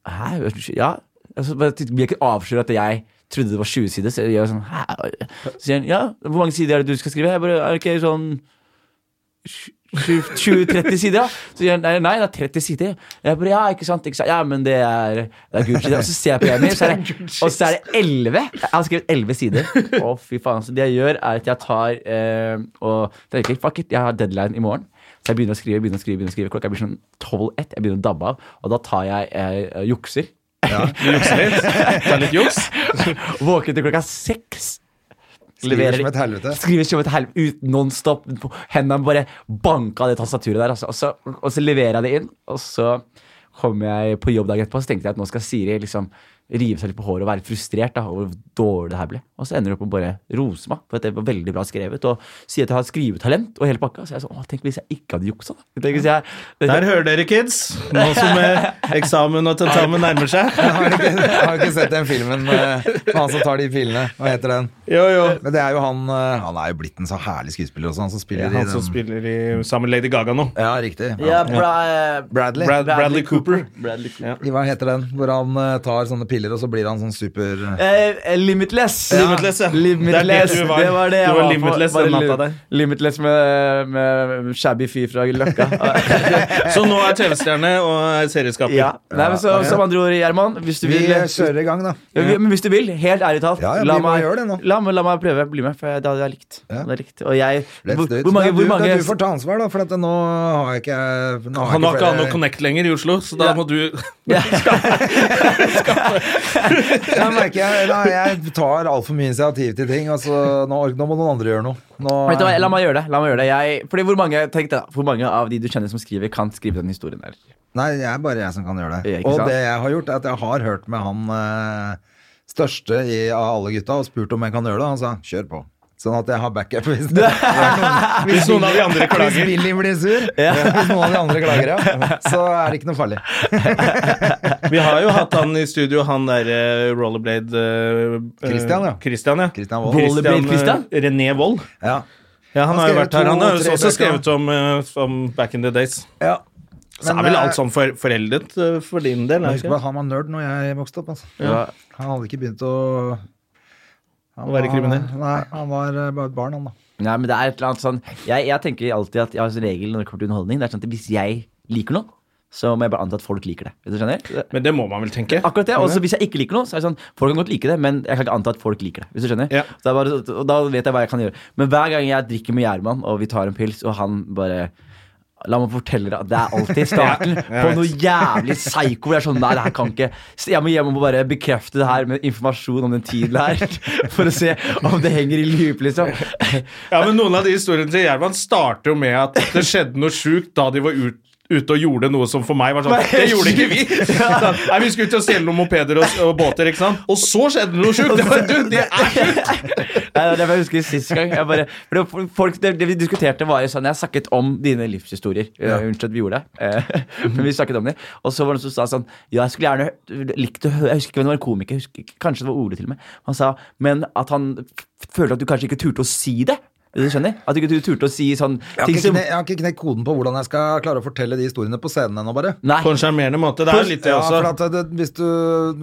hæ? Ja. Altså, bare, blir jeg ikke avslørt at jeg trodde det var 20 sider? Så jeg gjør sånn, hæ? Så sier han, ja, hvor mange sider er det du skal skrive? Jeg bare, er det ikke sånn... 20-30 sider, ja. Så sier han nei, nei, det er 30 sider. Jeg bare, ja, ikke sant, ikke sant. Ja, men det er, det er Gucci. det. Og så ser jeg på hjemmet, så er det, og så er det 11. Jeg har skrevet 11 sider. Å, fy faen. Så det jeg gjør, er at jeg tar eh, og tenker fuck it, jeg har deadline i morgen. Så jeg begynner å skrive, begynner å skrive, begynner å skrive. Klokka blir sånn 12-1. Jeg begynner å dabbe av. Og da tar jeg eh, jukser.
Du jukser litt. Ta litt juks.
Våkner til klokka seks.
Skriver som et helvete. (laughs)
Skriver som et helvete ut nonstop. på Hendene bare banka det tastaturet der. Altså. Og, så, og så leverer jeg det inn, og så kom jeg på jobb dagen etterpå, så tenkte jeg at nå skal Siri liksom rive seg litt på håret og være frustrert da, over hvor dårlig det her ble. Og så ender det opp med å bare rose meg for at det var veldig bra skrevet, og si at jeg har skrivetalent og hele pakka. Så jeg er sånn, å, tenk hvis jeg ikke hadde juksa, da. Tenk hvis jeg,
Der hører dere, kids. Nå som eh, eksamen og tentamen nærmer seg.
Har du ikke, har du ikke sett den filmen med med han som tar de pilene? Hva heter den?
Jo, jo.
Men det er jo han eh, Han er jo blitt en så herlig skuespiller også, han som spiller
Ja,
i
han
den-
som spiller i, sammen med Lady Gaga nå.
Ja, riktig. Ja.
ja, bra,
Bradley.
Brad, Bradley Cooper.
Bradley Cooper.
I Hva heter den? Hvor han eh, tar sånne piller, og så blir han sånn super
Eh, limitless.
Ja. Limitless, ja.
Limitless.
Det er det
Det
du var.
var det jeg
Du var
på.
limitless
Bare
den natta
lim-
der.
Limitless med, med shabby fyr fra Løkka.
Så nå er TV-stjerne og er serieskaper.
ja. Nei, men så, som andre ord, Gjerman, hvis du
Vi
vil
eh, kjører i gang, da.
Ja, vi- Men hvis du vil, helt ærlig talt,
Ja, ja, vi
la,
må
meg,
gjøre det nå.
la, meg, la meg prøve. Bli med, for det hadde jeg likt.
Ja.
Det er likt. Og jeg
Let's
hvor,
do it.
hvor mange,
Men
hvor
du,
mange
men du får ta ansvar, da, for at nå har jeg ikke nå har jeg
Han har ikke
flere-
han noe connect lenger i Oslo, så da
Ja.
må du
ja. (laughs)
Da merker jeg, da, jeg tar altfor mye initiativ til ting. Altså, nå, ork- nå må noen andre gjøre noe. Nå,
Vet du hva, La meg gjøre det. La meg gjøre det. Jeg, fordi hvor mange, tenk deg da, hvor mange av de du kjenner som skriver, kan skrive den historien der?
Nei, det er bare jeg som kan gjøre det.
Ja, ikke
Og
sant?
det jeg har gjort, er at jeg har hørt med han eh, største i, av alle gutta og spurt om jeg kan gjøre det. Han sa kjør på. Sånn at jeg har backup hvis, det er noen,
(laughs) Hvis noen av de andre
hvis
klager.
Billy blir sur. Hvis noen av de andre klager, ja. Så er det ikke noe farlig.
Vi har jo hatt han i studio, han derre rollerblade eh,
Christian, ja.
Christian, ja.
Christian Wold.
Rollerblade
eh,
Christian?
René Wold.
Ja.
Ja, han,
Han
har jo
skrev
vært her. Han
to,
har jo
tre
også
bøker,
skrevet om, eh, om Back in the Days.
ja.
Så
Men,
er vel
eh,
alt sånn for, foreldet eh, for din del?
Men
Er
husk
det
på
ikke?
at han var nerd når jeg vokste opp. Altså. Han hadde ikke begynt å
å være kriminell.
Nei, han var eh, bare et barn, han da.
Nei, men det er et eller annet sånn Jeg, jeg tenker alltid at jeg har en regel når det kommer til underholdning. Det er sånn at Hvis jeg liker noe, så må jeg bare anta at folk liker det. Vet du hva jeg skjønner?
Men det må man vel tenke?
Akkurat det. Og så hvis jeg ikke liker noe, så er det sånn Folk kan godt like det, men jeg kan ikke anta at folk liker det. Hvis du skjønner?
Ja.
Så det er bare, og da vet jeg hva jeg kan gjøre. Men hver gang jeg drikker med Gjerman, og vi tar en pils, og han bare La meg fortelle deg at det er alltid starten på noe jævlig psyko. Jeg er sånn, nei, det her kan ikke Så Jeg må hjem og bare bekrefte det her med informasjon om den tiden her. (laughs) For å se om det henger i loop, liksom.
Ja, men Noen av de historiene til Gjerman starter jo med at det skjedde noe sjukt da de var ut, ute og gjorde noe som for meg var sånn
Nei,
Det gjorde ikke vi! Sånn, Nei, Vi skulle ut og stjele noen mopeder og, og båter, ikke sant? Og så skjedde det noe sjukt! Det var, du, det er sjukt!
Nei, det er derfor jeg husker sist gang. Jeg bare, for det, for- folk, det, det vi diskuterte, var jo sånn Jeg snakket om dine livshistorier. Eh, Unnskyld at vi gjorde det, eh, (laughs) men vi snakket om dem. Og så var det noen som sa sånn Ja, jeg skulle gjerne hø- likt å høre Jeg husker ikke hvem det var, en komiker. jeg Husker, ikke- kanskje det var Ole, til og med. Han sa Men at han f- følte at du kanskje ikke turte å si det. Du skjønner? At du ikke turte å si sånn
Jeg har,
ting
ikke
som
kne, jeg har ikke knekt koden på hvordan jeg skal klare å fortelle de historiene på scenen ennå, bare.
Nei.
På en sjarmerende måte. Det er litt det
ja, for
også.
at det, hvis, du,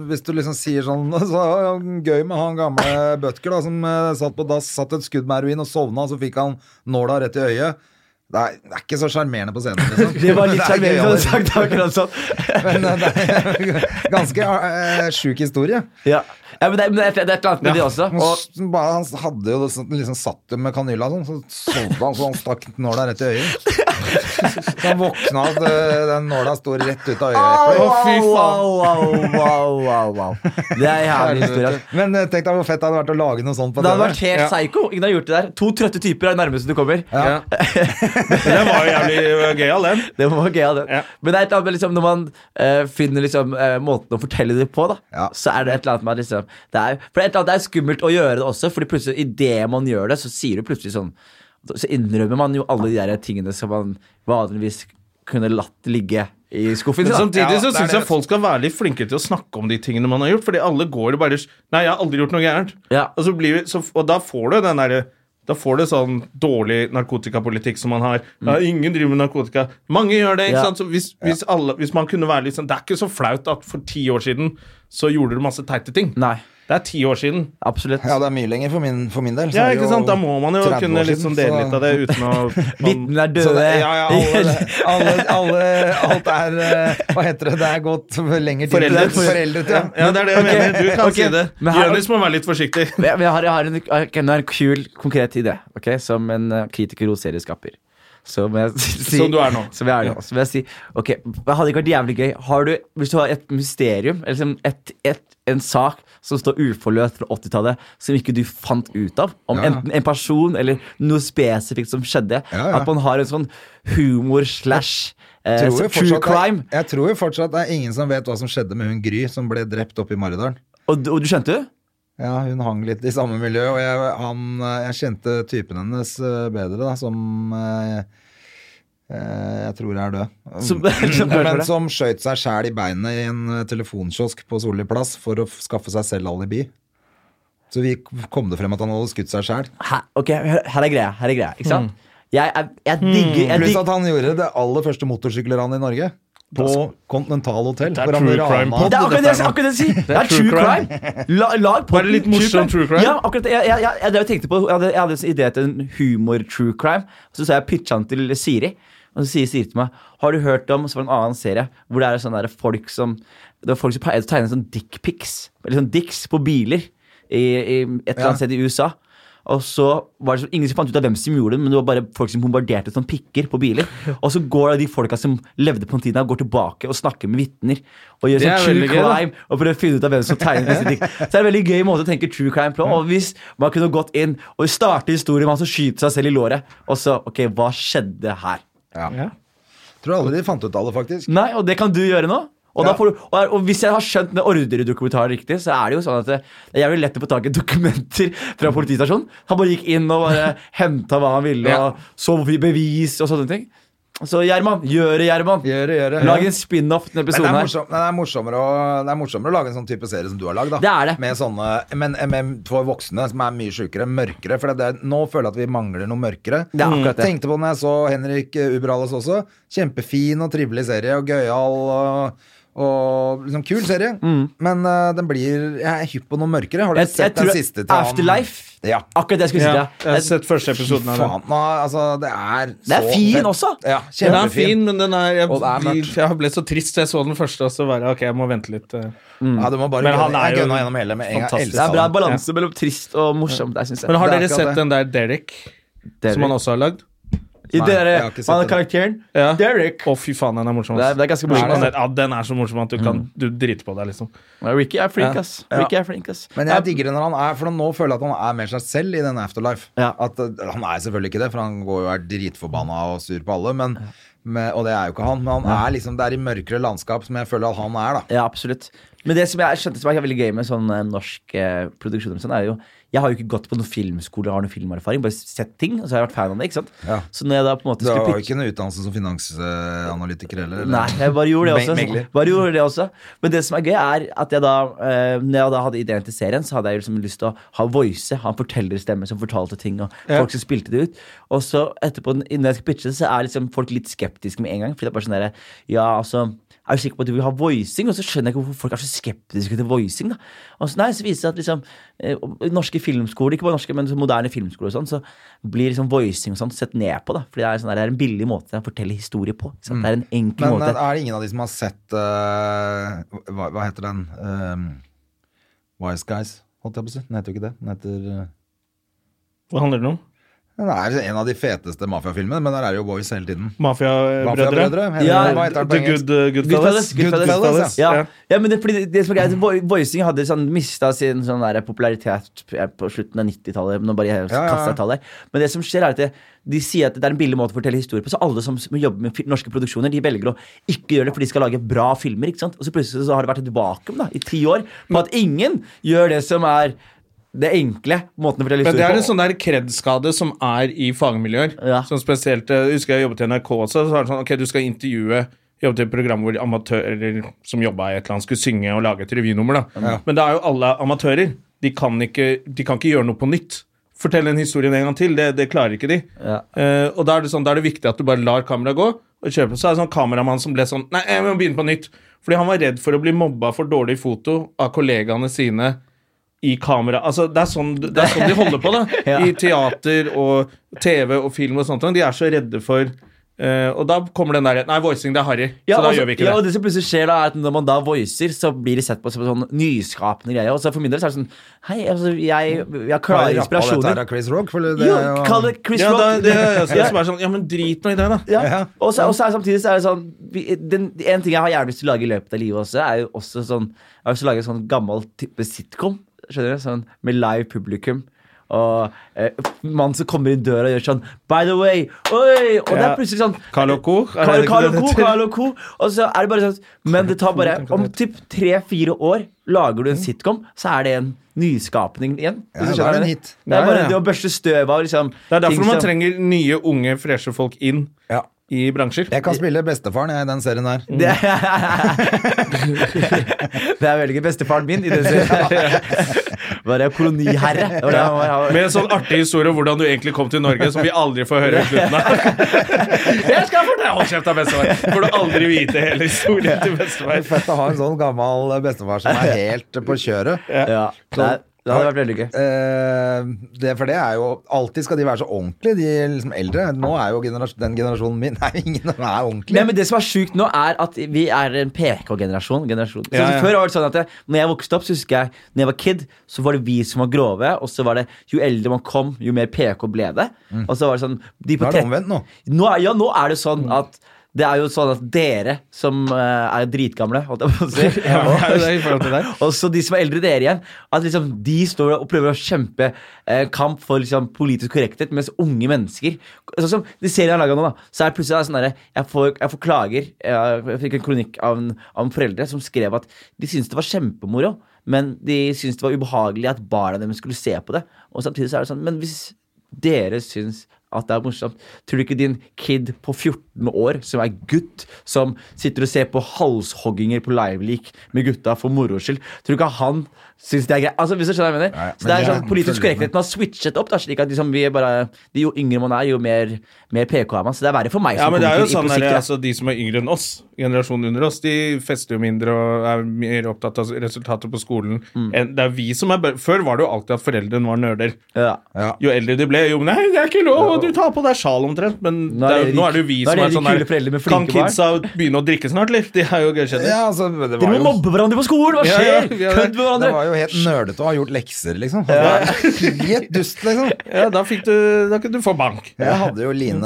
hvis du liksom sier sånn (laughs) så, ja, Gøy med han gamle Bødker da, som eh, satt på dass, satt et skudd med heroin og sovna, så fikk han nåla rett i øyet. Det er, det er ikke så sjarmerende på scenen, liksom.
(laughs)
(laughs)
Det var litt
er
sjarmerende
gøy,
du hadde sagt akkurat sånn.
Men eh, (laughs) det er ganske eh, sjuk historie.
Ja. ja, men det, men det, er- det er et eller annet med det også.
Han
Og,
s- bare, han hadde jo liksom, liksom satt det med kanyla sånn, så sovna han så han stakk nåla rett i
(laughs)
øyet. Så han våkna av at den nåla sto rett ut av øyet.
Å, fy faen.
Wow, wow, wow, wow, wow. Det er en jævlig historie. ass.
Men eh, tenk deg hvor fett det hadde vært å lage noe sånt på
Det
TV.
hadde vært helt psycho. Ingen har gjort det der. To trøtte typer er det nærmeste du kommer.
Ja. Den var jo jævlig øh, gøyal, den.
Det var gøy av det.
Ja.
Men det er et eller annet med liksom, når man eh, finner liksom, eh, måten å fortelle det på, da,
Ja.
så er det et eller annet med at liksom, det er, For det er et eller annet det er skummelt å gjøre det også, Fordi plutselig idet man gjør det, så sier du plutselig sånn Så innrømmer man jo alle de der tingene som man vanligvis kunne latt ligge i skuffen.
Men
da.
samtidig
Ja,
så
det er
syns
det.
jeg folk skal være litt flinke til å snakke om de tingene man har gjort. Fordi alle går jo bare Nei, jeg har aldri gjort noe gærent.
Ja.
Og, så blir, vi- så, og da får du den derre da får du sånn dårlig narkotikapolitikk som man har. Ja, ingen driver med narkotika. Mange gjør det. ikke
Mm. Ja.
sant? Så hvis, hvis, alle, hvis man kunne være litt sånn Det er ikke så flaut at for ti år siden så gjorde du masse teite ting.
Nei,
Det er ti år siden.
absolutt.
Ja, det er mye lenger for min, for min del. så
Ja,
er det
ikke
jo
sant? Da må man jo
30 år
kunne liksom
siden,
dele
så-
litt av det uten å
(laughs)
man,
Vitnene er
Så
døde.
det, ja, ja, alle,
(laughs)
alle, alle, alt er eh, Hva heter det? Det er gått lenger til
Foreldet.
Foreldet, ja.
Ja, det er det jeg
Ok,
mener. Du kan
ok.
si det.
Men her-
Jonis må være litt forsiktig.
Men jeg, men jeg har, jeg har en, ok, nå er det en kul, konkret idé, ok, som en eh, kritiker og serieskaper. Så må jeg si,
Som du er nå.
Som jeg er nå. Så må jeg si ok, det hadde ikke vært jævlig gøy har du, Hvis du har et mysterium, eller liksom et, et, en sak som står uforløst fra 80-tallet, som ikke du fant ut av, om
Ja, ja.
enten en person eller noe spesifikt som skjedde,
Ja, ja.
at man har en sånn humor slash eh,
Jeg tror jo
true
fortsatt det er-
crime.
Jeg tror jo fortsatt det er ingen som vet hva som skjedde med hun Gry som ble drept oppe i Maridalen.
Og, og du skjønte det?
Ja, hun hang litt i samme miljø, og jeg, han, eh, jeg kjente typen hennes eh, bedre, da, som eh, eh, jeg tror er død.
Som- (laughs) som dør for
Men
det.
som skjøt seg sjæl i beinet i en eh, telefonkiosk på Solli plass for å f- skaffe seg selv alibi. Så vi kom det frem at han hadde skutt seg sjæl.
Her, ok, her her er greia. Her er greia, ikke sant? Jeg, jeg, jeg digger, jeg
Mm. Pluss
digger
at han gjorde det aller første motorsykkelranet i Norge. På Continental Hotel.
er
hvor han ble
true
rana.
crime pod.
Det er akkurat det
Dette
jeg
er
akkurat det jeg sier! Det er
true
true crime. La, lag podden
litt morsom true crime.
Ja, akkurat det. Jeg, jeg, jeg, jeg, drev og tenkte på, jeg hadde, jeg hadde en idé til en humor-true crime. Så sa jeg pitcha den til Siri. Og så sier Siri til meg Har du hørt om så var det en annen serie hvor det er sånne der folk som Det var folk som pleide å tegne sånn dickpics, eller sånn dicks, på biler i, i et eller
Ja.
annet sted i USA. Og så var det så, Ingen som fant ut av hvem som gjorde det, men det var bare folk som bombarderte som pikker på biler. Og så går da de folka som levde på den tiden, går tilbake og snakker med vitner. Og gjør
Det er
sånn true
veldig gøy, da.
crime og prøve å finne ut av hvem som tegner disse ting. Så det er en veldig gøy måte å tenke true crime på. Og hvis man kunne gått inn og starte historien med han som skyter seg selv i låret, og så Ok, hva skjedde her?
Tror aldri de fant ut av det, faktisk.
Nei, og det kan du gjøre nå. Og, da
Ja.
får du, og, og hvis jeg har skjønt den ordredokumentaren riktig, så er det jo sånn at det, det er jævlig lett å få tak i dokumenter fra politistasjonen. Han bare gikk inn og (laughs) bare henta hva han ville,
Ja.
og så på bevis og sånne ting. Så Gjerman, gjør det, Gjerman.
Gjør det, gjør det.
Lag en spin-off til
Men
denne
det
episoden
er,
her.
morsom, men det, er morsommere å, det er morsommere å lage en sånn type serie som du har lagd. da.
Det er det.
Med sånne, men, men for voksne som er mye sjukere, mørkere. For det er, nå føler jeg at vi mangler noe mørkere.
Det er akkurat det.
Tenkte på når jeg så Henrik eh, Uberales også. Kjempefin og trivelig serie og gøyal. og Og liksom Kul serie, men eh, den blir Jeg er hypp på noe mørkere. Har du
Mm. Jeg, jeg
sett
tror
den siste til han-
Afterlife.
Ja.
Akkurat det jeg skulle si.
Ja,
Ja.
jeg har sett første episoden av den.
Faen, nå, altså, det er
Det er
så
fin
fett.
også.
Ja,
Den er
kjempefin.
fin, men den er, jeg,
Og det er
blir,
mørkt.
jeg ble så trist, så jeg så den første, og så bare ok, jeg må vente litt. eh.
Ja, du må bare
Men han
gønne-
er
jeg
jo
gønna gjennom hele med en gang.
fantastisk.
Elsa
Det er bra
den.
balanse mellom trist og morsomt. Der, synes jeg.
Men har
Det er
dere
akkurat
sett
det.
den der Derek,
Derek.
som han også har lagd?
I
Nei,
dere,
jeg har ikke sett
han
det.
er karakteren.
Ja.
Derek.
Å, fy faen, den er morsom.
Det er,
ass.
det er ganske
Hvordan
morsomt.
kan det- Ja, den er så morsom at du kan du driter på deg, liksom.
Ja, Ricky er flink,
Ja.
ass. Ricky er flink, ass.
Men jeg digger det når han er For nå føler jeg at han er mer seg selv i den Afterlife.
Ja.
At, eh, han er selvfølgelig ikke det, for han går jo og er dritforbanna og sur på alle. Men, men, og det er jo ikke han. Men han er liksom det er i mørkere landskap som jeg føler at han er, da.
Ja, absolutt. Men det som jeg skjønte som er veldig gøy med sånn eh, norsk eh, produksjon, og sånn, er jo Jeg har jo ikke gått på noen filmskole og har noen filmerfaring, bare sett ting, og så har jeg vært fan av det. ikke sant?
Ja.
Så når jeg da på en måte
Du har
skulle
jo
pitche
ikke noen utdannelse som finansanalytiker heller. eller?
Nei, jeg bare gjorde det
Me-
også.
megler.
Bare gjorde det også. Men det som er gøy, er at jeg da eh, Når jeg da hadde ideen til serien, så hadde jeg jo liksom lyst til å ha voice, ha en fortellerstemme som fortalte ting, og folk som spilte det ut. Og så etterpå, når jeg skal pitche det, så er liksom folk litt skeptiske med en gang. Fordi det er bare sånn derre Ja, altså er du sikker på at du vil ha voicing? Og så skjønner jeg ikke hvorfor folk er så skeptiske til voicing. da. Og så, nei, så viser det seg at liksom, eh, og- norske filmskoler, ikke bare norske, men så moderne filmskoler og sånn, så blir liksom voicing og sånn sett ned på. da. Fordi det er, sånn, der, det er en billig måte å fortelle historie på. Ikke sant? Det er en enkel
Mm. Men
måte.
eh, er det ingen av de som har sett eh, hva, hva heter den? Eh, Wise Guys, holdt jeg på å si. Den heter jo ikke det. Den heter eh,
Hva handler den om?
Den er en av de feteste mafiafilmene, men der er det jo boys hele tiden.
Mafiabrødre?
Mafiabrødre? heter-
Ja,
hva heter den på
The
engelsk?
Good, uh, Goodfellas?
Goodfellas, Goodfellas.
Goodfellas,
ja.
ja.
Ja. men det, fordi det som er greit, vo- voicing hadde sånn mista sin sånn der popularitet p- på slutten av 90-tallet. Nå bare jeg
ja, ja.
kastet et tall her. Men det som skjer, er at det, de sier at det er en billig måte å fortelle historier på. Så alle som, som jobber med fi- norske produksjoner, de velger å ikke gjøre det, for de skal lage bra filmer. ikke sant? Og så plutselig så har det vært et vakuum da, i ti år på at ingen gjør det som er det enkle måten å fortelle
Men det er en
historier på.
sånn der kred-skade som er i fagmiljøer.
Ja.
Som spesielt, jeg husker jeg jobbet i NRK også, så var det sånn, ok, du skal intervjue Jobbet i et program hvor amatører som jobba i et eller annet, skulle synge og lage et revynummer. da. Men da er jo alle amatører. De kan, ikke, de kan ikke gjøre noe på nytt. Fortell en historie en gang til. Det, det klarer ikke de.
Ja.
Eh, og da er, det sånn, da er det viktig at du bare lar kameraet gå. Og kjøper Så er det sånn kameramann som ble sånn Nei, jeg må begynne på nytt. Fordi han var redd for å bli mobba for dårlig foto av kollegaene sine i kamera. Altså, det er sånn, det er sånn de holder på, da. (laughs) I teater og TV og film og sånt. De er så redde for eh, Og da kommer den der Nei, voicing, det er harry.
Ja,
så da
og så-
gjør vi ikke
ja, og
det.
det som plutselig skjer da, er at når man da voicer, så blir det sett på som en sånn nyskapende greie. Og så for min del så er det sånn Hei, altså, jeg, jeg
Har
klarer
de rappa dette her
inspirasjoner.
av Chris Rock? eh, For det,
Jo,
er jo-
kall det Chris
Ja,
Rock.
da, det, ja, så det er bare sånn, ja, men drit nå i det, da.
Ja. Og så, og så er, samtidig så er det sånn vi- den, En ting jeg har gjerne lyst til å lage i løpet av livet også, er jo også sånn Jeg har lyst til å lage en sånn gammel type sitcom. Skjønner du? Sånn Med live publikum. Og eh, mann som kommer inn døra og gjør sånn By the way! Oi! Og det er
Ja.
plutselig sånn
Carl og Co. Er
Carl,
det ikke
Carl
det
og Co.
det heter?
Carl og Co. Og så er det bare sånn Men det tar bare Om typ tre-fire år lager du
Mm.
en sitcom, så er det en nyskapning igjen.
Ja,
Hvis du
da er
skjønner
det en
det.
hit.
Det er
Ja,
bare
ja.
det å børste støv av liksom
Det er derfor
ting
man
som-
trenger nye, unge, freshe folk inn
Ja.
i bransjer.
Jeg kan spille bestefaren jeg, i den serien her.
(laughs) Det, det er veldig gøy. Bestefaren min i
(laughs)
den serien. Bare koloniherre. Det var det han var. Han var-
Med en sånn artig historie om hvordan du egentlig kom til Norge, som vi aldri får høre i slutten (laughs) av. Jeg skal fortelle Hold kjeft, da, bestefar! Får du aldri vite hele historien til
Det er
bestefar.
Fett å ha en sånn gammel bestefar som er
(laughs)
helt på kjøret.
Ja,
Sånn.
det, er- det hadde vært veldig gøy.
Eh, det, for det er jo Alltid skal de være så ordentlige, de liksom eldre. Nå er jo generas den generasjonen min (laughs) Nei, ingen er ordentlig.
Nei, men Det som er sjukt nå, er at vi er en PK-generasjon. generasjon. Så
Ja, ja.
Før var det sånn at det, Når jeg vokste opp, så husker jeg Når jeg var kid, så var det vi som var grove. Og så var det jo eldre man kom, jo mer PK ble det. Og så var det sånn de på
Mm. Nå er det
tret-
omvendt nå.
nå er, ja, nå er det sånn at det er jo sånn at dere som eh, er dritgamle, holdt jeg på å si
(laughs) det er jo det i forhold til deg.
og så de som er eldre enn dere igjen, at liksom de står og prøver å kjempe eh, kamp for liksom politisk korrekthet, mens unge mennesker Sånn som de serien jeg har laga nå, da, så er det plutselig sånn derre jeg, får- jeg får klager jeg, jeg fikk en kronikk av en, av en foreldre som skrev at de syntes det var kjempemoro, men de syntes det var ubehagelig at barna deres skulle se på det. Og samtidig så er det sånn Men hvis dere syns at det er morsomt, tror du ikke din kid på 14 14 år, som er gutt, som sitter og ser på halshogginger på live-leak med gutta for moro skyld. Tror du ikke han syns det er greit? Altså, hvis du skjønner hva jeg mener?
Nei, men
så det er
det er-
sånn politisk
følger med.
korrekthet man har switchet opp, da, slik at liksom, vi er bare Jo yngre man er, jo mer, mer PK er man. Så det er verre for meg
Ja,
som
men det er jo
komiker. i-
sånn
på
der,
sikt, ja.
altså, De som er yngre enn oss, generasjonen under oss, de fester jo mindre og er mer opptatt av resultater på skolen.
Mm.
enn- Det er vi som er bør- Før var det jo alltid at foreldrene var nerder.
Ja.
Jo eldre de ble, jo Nei, det er ikke lov! Du tar på deg sjal omtrent. Men
Nå
nå
er
er,
det de-
nå er det jo vi
nå er
som er
det de
sånn der
kule foreldrene med
Kan
flinke
kidsa begynne å drikke snart, eller? (laughs) De er jo gøykjenner.
Ja, altså, det var
Dere må
jo
mobbe hverandre på skolen! Hva
Ja,
skjer?
ja, vi er
Kødd med
det
hverandre!
var jo helt nerdete å ha gjort lekser, liksom. Det var Helt dust, liksom.
Ja, da fikk du Da kunne du få bank.
Jeg hadde jo Line,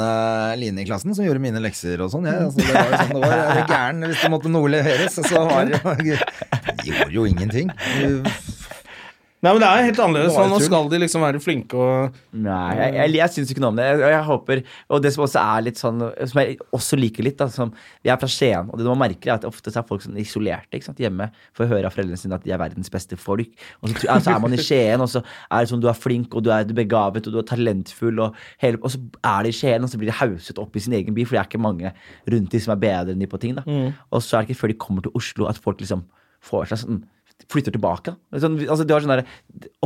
Line i klassen som gjorde mine lekser og sånn. Jeg, altså, det var jo sånn det var. Jeg var gæren hvis det måtte noe leveres. Så var det jo Gjorde jo ingenting.
Nei, men det er helt annerledes.
Det var
Nå
tull.
skal de liksom være flinke og
Nei, jeg, jeg, jeg syns ikke noe om det. Jeg, jeg håper, Og det som også er litt sånn Som jeg også liker litt, da som, Jeg er fra Skien, og det man merker, er at ofte så er folk sånn isolerte ikke sant, hjemme. Får høre av foreldrene sine at de er verdens beste folk. Og så, tr- ja, så er man i Skien, og så er det sånn du er flink, og du er begavet, og du er talentfull, og, hele, og så er det i Skien, og så blir de hauset opp i sin egen by, for det er ikke mange rundt de som er bedre enn de på ting. da Og så er det ikke før de kommer til Oslo at folk liksom får seg sånn flytter tilbake. da. Sånn, altså, du har sånn der,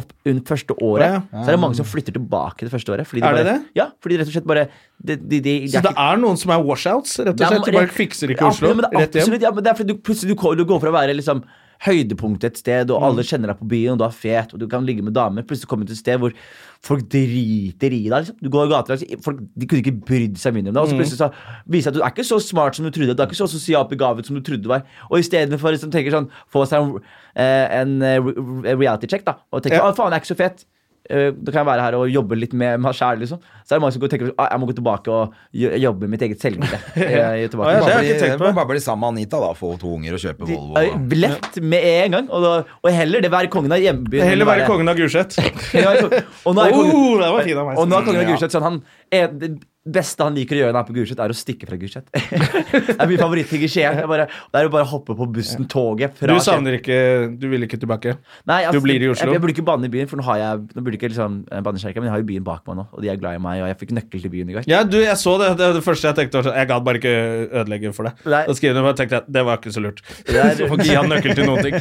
opp, under første året
Ja,
så er det mange som flytter tilbake det første året. Fordi de
Er det
bare,
det?
Ja, fordi rett og slett bare de, de, de, de er
Så det
ikke-
er noen som er washouts, rett og
det er-
slett? De bare fikser ikke Oslo?
Ja, men det er
Rett hjem?
absolutt, ja, men det er fordi du plutselig du, ko- du går fra å være liksom høydepunktet et sted, og
Mm.
alle kjenner deg på byen, og du er fet, og du kan ligge med damer, plutselig kommer du til et sted hvor folk driter i deg. liksom. Du går i gata, liksom, folk, de kunne ikke brydd seg mindre om deg, og så
Mm.
plutselig så viser det seg at du er ikke så smart som du trodde, du er ikke så sosialt begavet som du trodde du var, og istedenfor liksom, tenker sånn, få seg en, eh, en eh, re- re- reality check, da, og tenker
Ja.
å faen, jeg er ikke så fet. Eh, Da kan jeg være her og jobbe litt med meg sjæl. Liksom. Så er det mange som går og tenker at jeg må gå tilbake og jo- jobbe med mitt
(laughs)
eget selvbilde. Eh,
Ja, det
tilbake.
har
Bare
jeg ikke tenkt
bli,
på.
bare bli sammen med Anita, da. Få to unger og kjøpe Volvo.
Eh, Lett med en gang. Og, da, og heller det være kongen av hjembyen.
Heller
enn å
være
(laughs)
kongen av Gulset.
Heller være kongen. Og nå er
Oh,
kongen,
det var fin av meg.
og nå er kongen av
Ja.
Gulset sånn han, eh, Det beste han liker å gjøre når han er på Gulset, er å stikke fra Gulset. (laughs) det er min favorittting i Skien. Det er bare- Det er å bare hoppe på bussen, toget, fra
Du
Skien.
savner ikke Du vil ikke tilbake?
Nei, altså,
Du blir i Oslo?
Jeg, jeg burde ikke banne i byen, for nå har jeg Nå burde jeg ikke liksom eh, banne i kjerka, men jeg har jo byen bak meg nå, og de er glad i meg, og jeg fikk nøkkel til byen i går.
Ja, du, jeg så det. Det, det første jeg tenkte var sånn, Jeg gadd bare ikke ødelegge for det.
Nei.
Da skrev du bare tenkte jeg, det var ikke så lurt.
er-
Så får ikke gi han nøkkel til noen ting.
(laughs)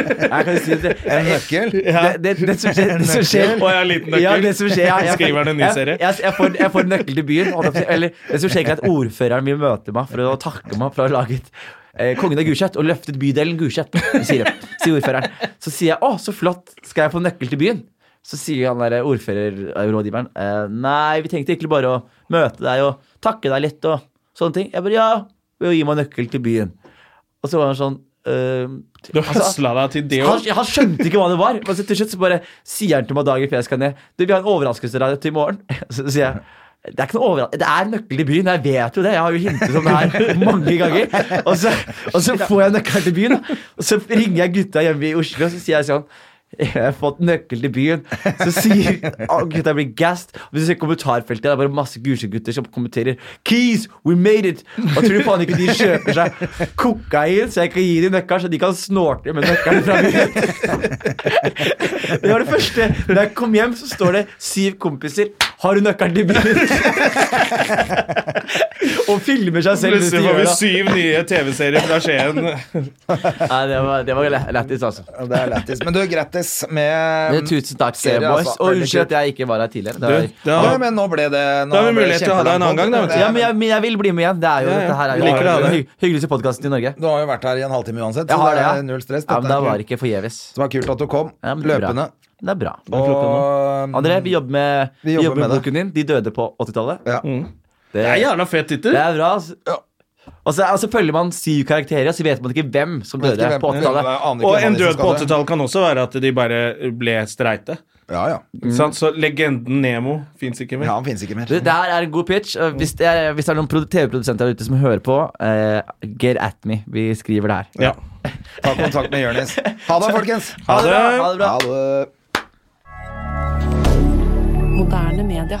Det, jeg kan si det,
En nøkkel?
Det, det, det som skjer, det som
Å,
skjer
jeg har en liten nøkkel.
Ja, det som skjer ja, jeg,
Skriver han en ny serie?
Jeg, jeg, jeg, får, jeg får nøkkel til byen. holdt jeg på å si. Eller det som skjer ikke er at ordføreren vil møte meg for å takke meg for å ha laget eh, Kongen av Gulset og løftet bydelen Gulset, sier, sier ordføreren. Så sier jeg å, så flott, skal jeg få nøkkel til byen? Så sier han der ordførerrådgiveren eh, nei, vi tenkte egentlig bare å møte deg og takke deg litt og sånne ting. Jeg bare ja, ved å gi meg nøkkel til byen. Og så var han sånn eh,
Du høsla deg til det
han,
òg.
han skjønte ikke hva det var. Men så til slutt så bare sier han til meg dagen før jeg skal ned Du, vi har en overraskelse til deg til i morgen. (laughs) Så sier jeg det er ikke noe overra- Det er nøkkelen til byen, jeg vet jo det. Jeg har jo hintet om det her mange ganger. Og så, og så får jeg nøkkelen til byen, da. og så ringer jeg gutta hjemme i Oslo, og så sier jeg sånn jeg har fått nøkkel til byen. Så sier å, gutta blir gassed. Hvis du ser kommentarfeltet, det er bare masse Gulset-gutter som kommenterer 'Keys, we made it!' Og tror du faen ikke de kjøper seg kokain, så jeg kan gi dem nøkkelen, så de kan snorte med nøkkelen fra byen. Det var det første. Da jeg kom hjem, så står det syv kompiser. Har du nøkkelen til
(laughs)
bilen? og filmer seg selv. mens de
Plutselig
gjør
får vi
det.
syv nye TV-serier fra Skien.
Nei, det var, det var læ- lættis, altså.
Ja, Det er lættis. Men du, grattis med
Men Tusen takk,
Serie,
C-boys.
altså.
Og
Veldig
unnskyld
kult.
at jeg ikke var her tidligere. Det var,
Du, det
ja,
har-
men nå ble det nå
Da har
ble
vi
det
mulighet til å ha deg en
kjempelang
annen gang, da,
podd.
vet du.
ja, men jeg, men jeg vil bli med igjen. Det er jo,
Ja, ja.
Dette her er jo
Vi liker det,
den
det.
hy- hyggeligste podkasten i Norge.
Du har jo vært her i en halvtime uansett, så
Jeg har det,
det
ja.
er null stress.
Ja, men
Dette
det
er
var
kult.
ikke forgjeves.
Så det var kult at du kom.
Ja, men det er bra.
løpende.
Det er bra.
Og
André, vi jobber med, vi jobber med,
det.
boken din. De døde på 80-tallet.
Ja.
Mm. Det
Det,
er jævla fet tittel.
Det er bra. altså. Og så, og så følger man syv karakterer, og så vet man ikke hvem som
Vet ikke
døde
hvem-
på 80-tallet.
Jeg aner ikke
Og
hvem
en
av de som
død på
skal det.
80-tallet kan også være at de bare ble streite.
Ja, ja.
Mm.
Ikke sant? Så legenden Nemo fins ikke
ja
mer.
han finnes ikke mer.
Du, Det her er en god pitch. og Hvis det er, hvis det er noen produ- TV-produsenter der ute som hører på, eh, get at me. Vi skriver det her.
Ja.
Ta kontakt med Jonis. Ha det, folkens!
Ha det!
bra, Ha det bra.
Ha det.
Moderne media.